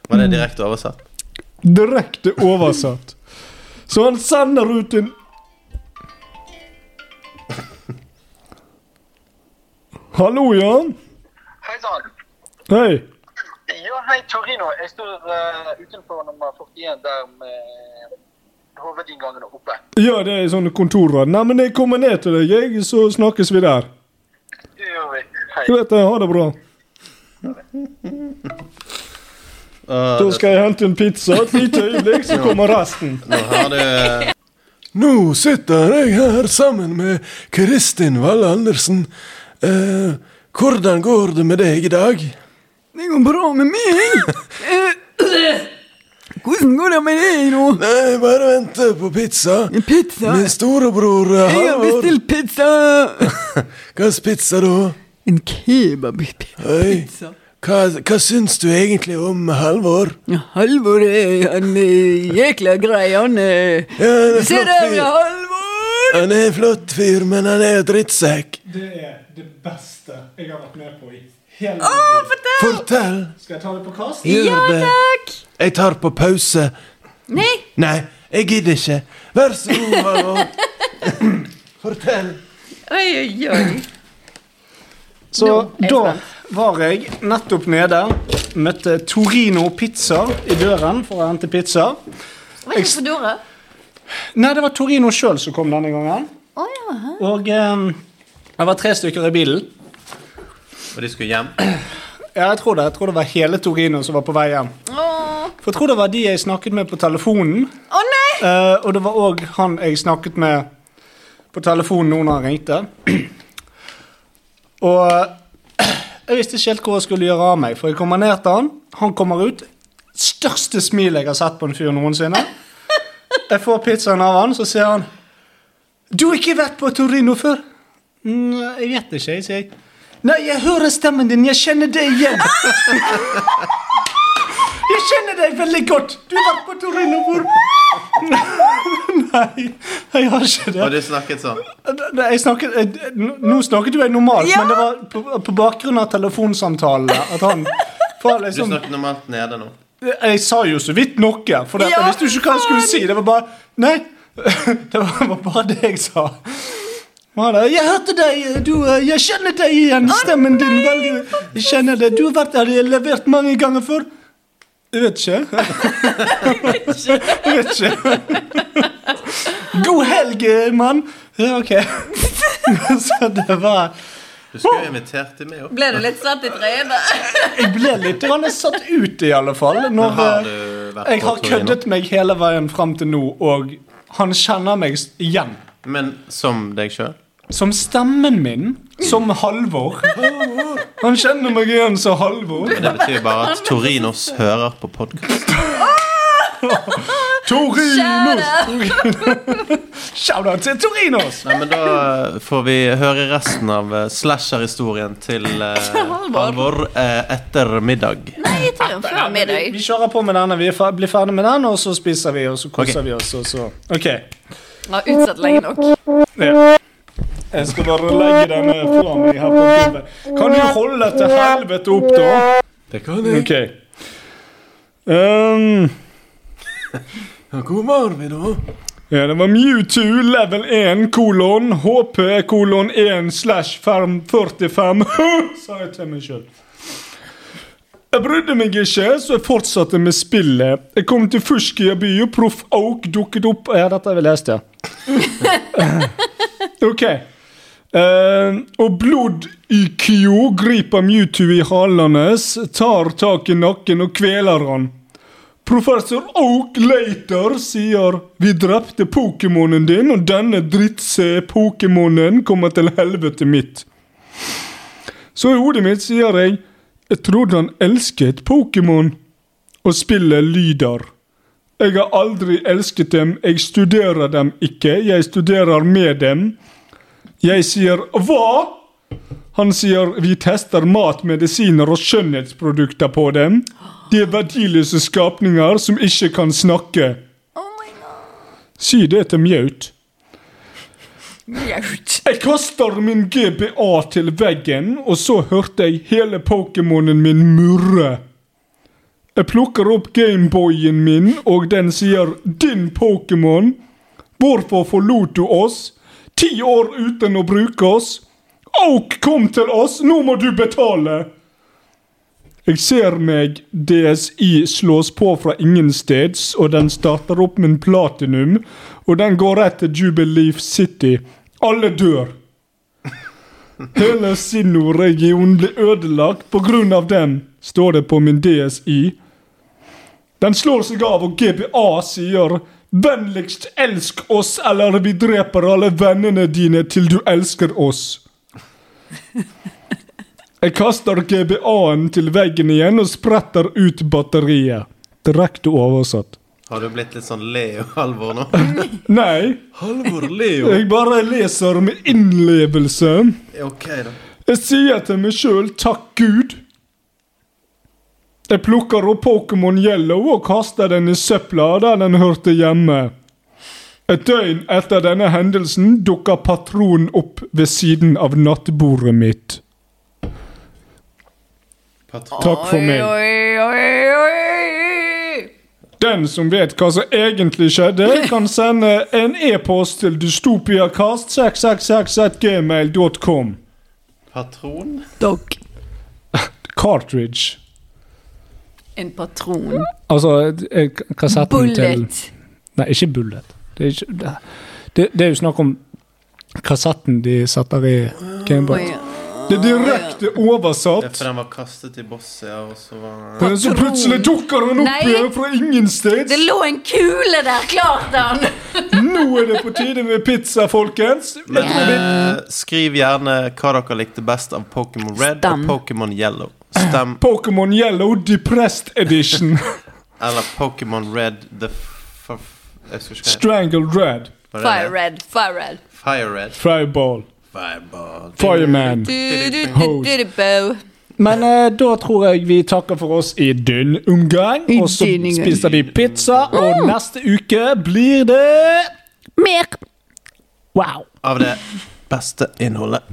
C: Var det direkte oversatt?
G: direkte oversatt. Så han sender ut en Hallo, ja.
H: Hei sann.
G: Hei.
H: Ja, hei Torino. Jeg står eh, utenfor nummer 41 der med hovedinngangen oppe.
G: Ja, det er sånne kontorråd. Nei, men jeg kommer ned til deg, jeg, så snakkes vi der.
H: Det gjør vi. Hei.
G: Greit, det. ha det bra.
C: Og
G: Da skal jeg hente en pizza. Et lite øyeblikk, så kommer resten.
C: nå har du
I: Nå sitter jeg her sammen med Kristin Valle Andersen. Eh, hvordan går det med deg i dag?
E: Det går bra med meg. Eh, Hvordan går det med deg nå?
I: Nei, bare vente på pizza.
E: Pizza?
I: Min storebror eh,
E: Jeg har
I: Halvor
E: bestilt pizza!
I: Hva slags pizza da?
E: En kebabpizza.
I: Oi. Hva, hva syns du egentlig om Halvor?
E: Halvor er han eh, jækla grei, han eh.
I: Ja, han er
E: Se
I: flott
E: der, ja,
I: fyr.
E: Halvor!
I: Han er en flott fyr, men han er jo drittsekk.
G: Det er det beste jeg har vært med på i hele mitt liv.
I: Fortell.
G: Skal jeg ta det på kast?
I: Gjør det. Jeg tar på pause.
F: Nei,
I: Nei, jeg gidder ikke. Vær så god, Halvor. Fortell.
F: oi, oi, oi.
G: Så
F: er jeg
G: da var jeg nettopp nede, møtte Torino Pizza i døren for å hente pizza.
F: Var ikke Fedora?
G: Nei, det var Torino sjøl som kom denne gangen.
F: Å ja. hæ?
G: Og eh, jeg var tre stykker i bilen.
C: Og de skulle hjem.
G: Ja, jeg tror det. Jeg tror det var hele Torino som var på vei hjem.
F: Å
G: For jeg tror det var de jeg snakket med på telefonen.
F: Å, nei!
G: Eh, og det var òg han jeg snakket med på telefonen nå når han ringte. Og eh, jeg visste ikke helt hvor jeg skulle gjøre av meg, for jeg kommer ned til han. Han kommer ut. Største smil jeg har sett på en fyr noensinne. Jeg får pizzaen av han, så sier han 'Du har ikke vært på Torino før?' «Nei, 'Jeg vet ikke', jeg, sier jeg. 'Nei, jeg hører stemmen din. Jeg kjenner det igjen.' 'Jeg kjenner deg veldig godt. Du har vært på Torino før.' Nei, jeg har ikke
C: Og
G: det.
C: du snakket sånn.
G: Nei, Jeg snakket, eh, n- nå snakket jo jeg normalt, men det var på, på bakgrunn av telefonsamtalene at han for
C: Du
G: liksom,
C: snakket normalt nede nå.
G: Jeg sa jo så vidt noe, for det, jeg
F: Ja,
G: visste jo ikke hva jeg skulle si. Det var bare Nei. Det var, var bare det jeg sa. Og han da, 'Jeg hørte deg, du, eh, jeg kjenner deg igjen. Stemmen din veldig Jeg kjenner det. Du har vært her jeg har levert mange ganger før.' Jeg vet ikke. Jeg vet ikke. God helg, eh, mann. Ja, OK. Så det var
C: Du skulle jo invitert til meg opp.
F: Ble du litt svett i trynet?
G: Jeg ble litt grann satt ut, i alle fall.
C: Men
G: Når,
C: har
G: eh,
C: du vært
G: Jeg
C: på
G: har
C: Torino?
G: køddet meg hele veien fram til nå, og han kjenner meg s- igjen.
C: Men som deg sjøl?
G: Som stemmen min. Som Halvor. Han kjenner meg igjen som Halvor.
C: Det betyr bare at Torinos hører på podkast.
G: Torinos! Shout-out til Torinos!
C: Nei, men da eh, får vi høre resten av eh, slasher-historien til eh, Halvor eh, etter middag.
E: Nei, jeg tar den før middag.
G: Vi kjører på med denne. Vi er fer- blir ferdig med den, og så spiser vi, og så koser
C: Ok.
G: vi oss, og så OK.
E: Jeg har utsatt lenge nok.
G: Ja. Jeg skal bare legge denne fra meg her på gulvet. Kan du holde til helvete opp, da?
D: Det kan jeg.
G: OK. Um,
D: Ja, hvor var vi da?
G: Ja, det var Mewtwo level 1 kolon HP kolon 1 slash farm 45 Sa jeg til meg sjøl. Jeg brydde meg ikke, så jeg fortsatte med spillet. Jeg kom til Fushkia by, og Proff Oak dukket opp Ja, dette har vi lest, ja. OK. Eh, og blod i Kyo griper Mewtwo i halen hans, tar tak i nakken og kveler han. Professor Oak Later sier Vi drepte Pokémonen din, og denne drittse-Pokémonen kommer til helvete mitt. Så i hodet mitt sier jeg Jeg trodde han elsket Pokémon. Og spillet lyder Jeg har aldri elsket dem, jeg studerer dem ikke, jeg studerer med dem. Jeg sier hva? Han sier vi tester mat, medisiner og skjønnhetsprodukter på dem. De er verdiløse skapninger som ikke kan snakke. Si det til Mjaut.
F: Mjaut.
G: Jeg kaster min GBA til veggen, og så hørte jeg hele Pokémonen min murre. Jeg plukker opp Gameboyen min, og den sier 'Din Pokémon'. Hvorfor forlot du oss? Ti år uten å bruke oss? Oak kom til oss, nå må du betale! Jeg ser meg DSI slås på fra ingensteds, og den starter opp med en platinum. Og den går rett til Jubileef City. Alle dør. Hele Sinnoh-regionen blir ødelagt på grunn av den, står det på min DSI. Den slår seg av, og GBA sier 'Vennligst elsk oss, eller vi dreper alle vennene dine til du elsker oss'. Jeg kaster GBA-en til veggen igjen og spretter ut batteriet. Direkte oversatt.
C: Har du blitt litt sånn Leo Halvor nå?
G: Nei,
D: Halvor Leo.
G: jeg bare leser med innlevelse.
C: Ok, da.
G: Jeg sier til meg sjøl takk Gud. Jeg plukker opp Pokémon Yellow og kaster den i søpla der den hørte hjemme. Et døgn etter denne hendelsen dukker patronen opp ved siden av nattbordet mitt.
C: Patron.
G: Takk for meg.
F: Oi, oi, oi.
G: Den som vet hva som egentlig skjedde, kan sende en e-post til dystopiacast666gmail.com.
C: Patron?
E: Dog.
G: Cartridge.
E: En patron.
G: Altså eh, k- kassetten
F: Bullet.
G: til Nei, ikke bullet. Det er, ikke, det, det, det er jo snakk om kassetten de setter i Gameboy. Det er direkte
C: Ja,
G: oversatt.
C: for den var kastet i bosset, ja, og så var
G: Men så plutselig dukker han opp
E: Nei.
G: igjen fra ingen sted.
E: Det lå en kule der, klart han!
G: Nå er det på tide med pizza, folkens.
C: Men eh, skriv gjerne hva dere likte best av Pokémon Red
E: Stem.
C: og Pokémon Yellow. Stem
G: Pokémon Yellow Depressed Edition.
C: eller Pokémon Red the f... Jeg husker ikke hva
G: Strangled Red.
C: hva det
F: Fire
C: er.
F: red, fire red.
C: Fire Red.
G: Fireball.
C: Fireball.
G: Fireman.
F: Du, du, du, du, du, bo.
G: Men eh, da tror jeg vi takker for oss i denne omgang. Og så
E: denne gang.
G: spiser vi pizza, og neste uke blir det
F: Mer.
D: Wow.
C: Av det beste innholdet.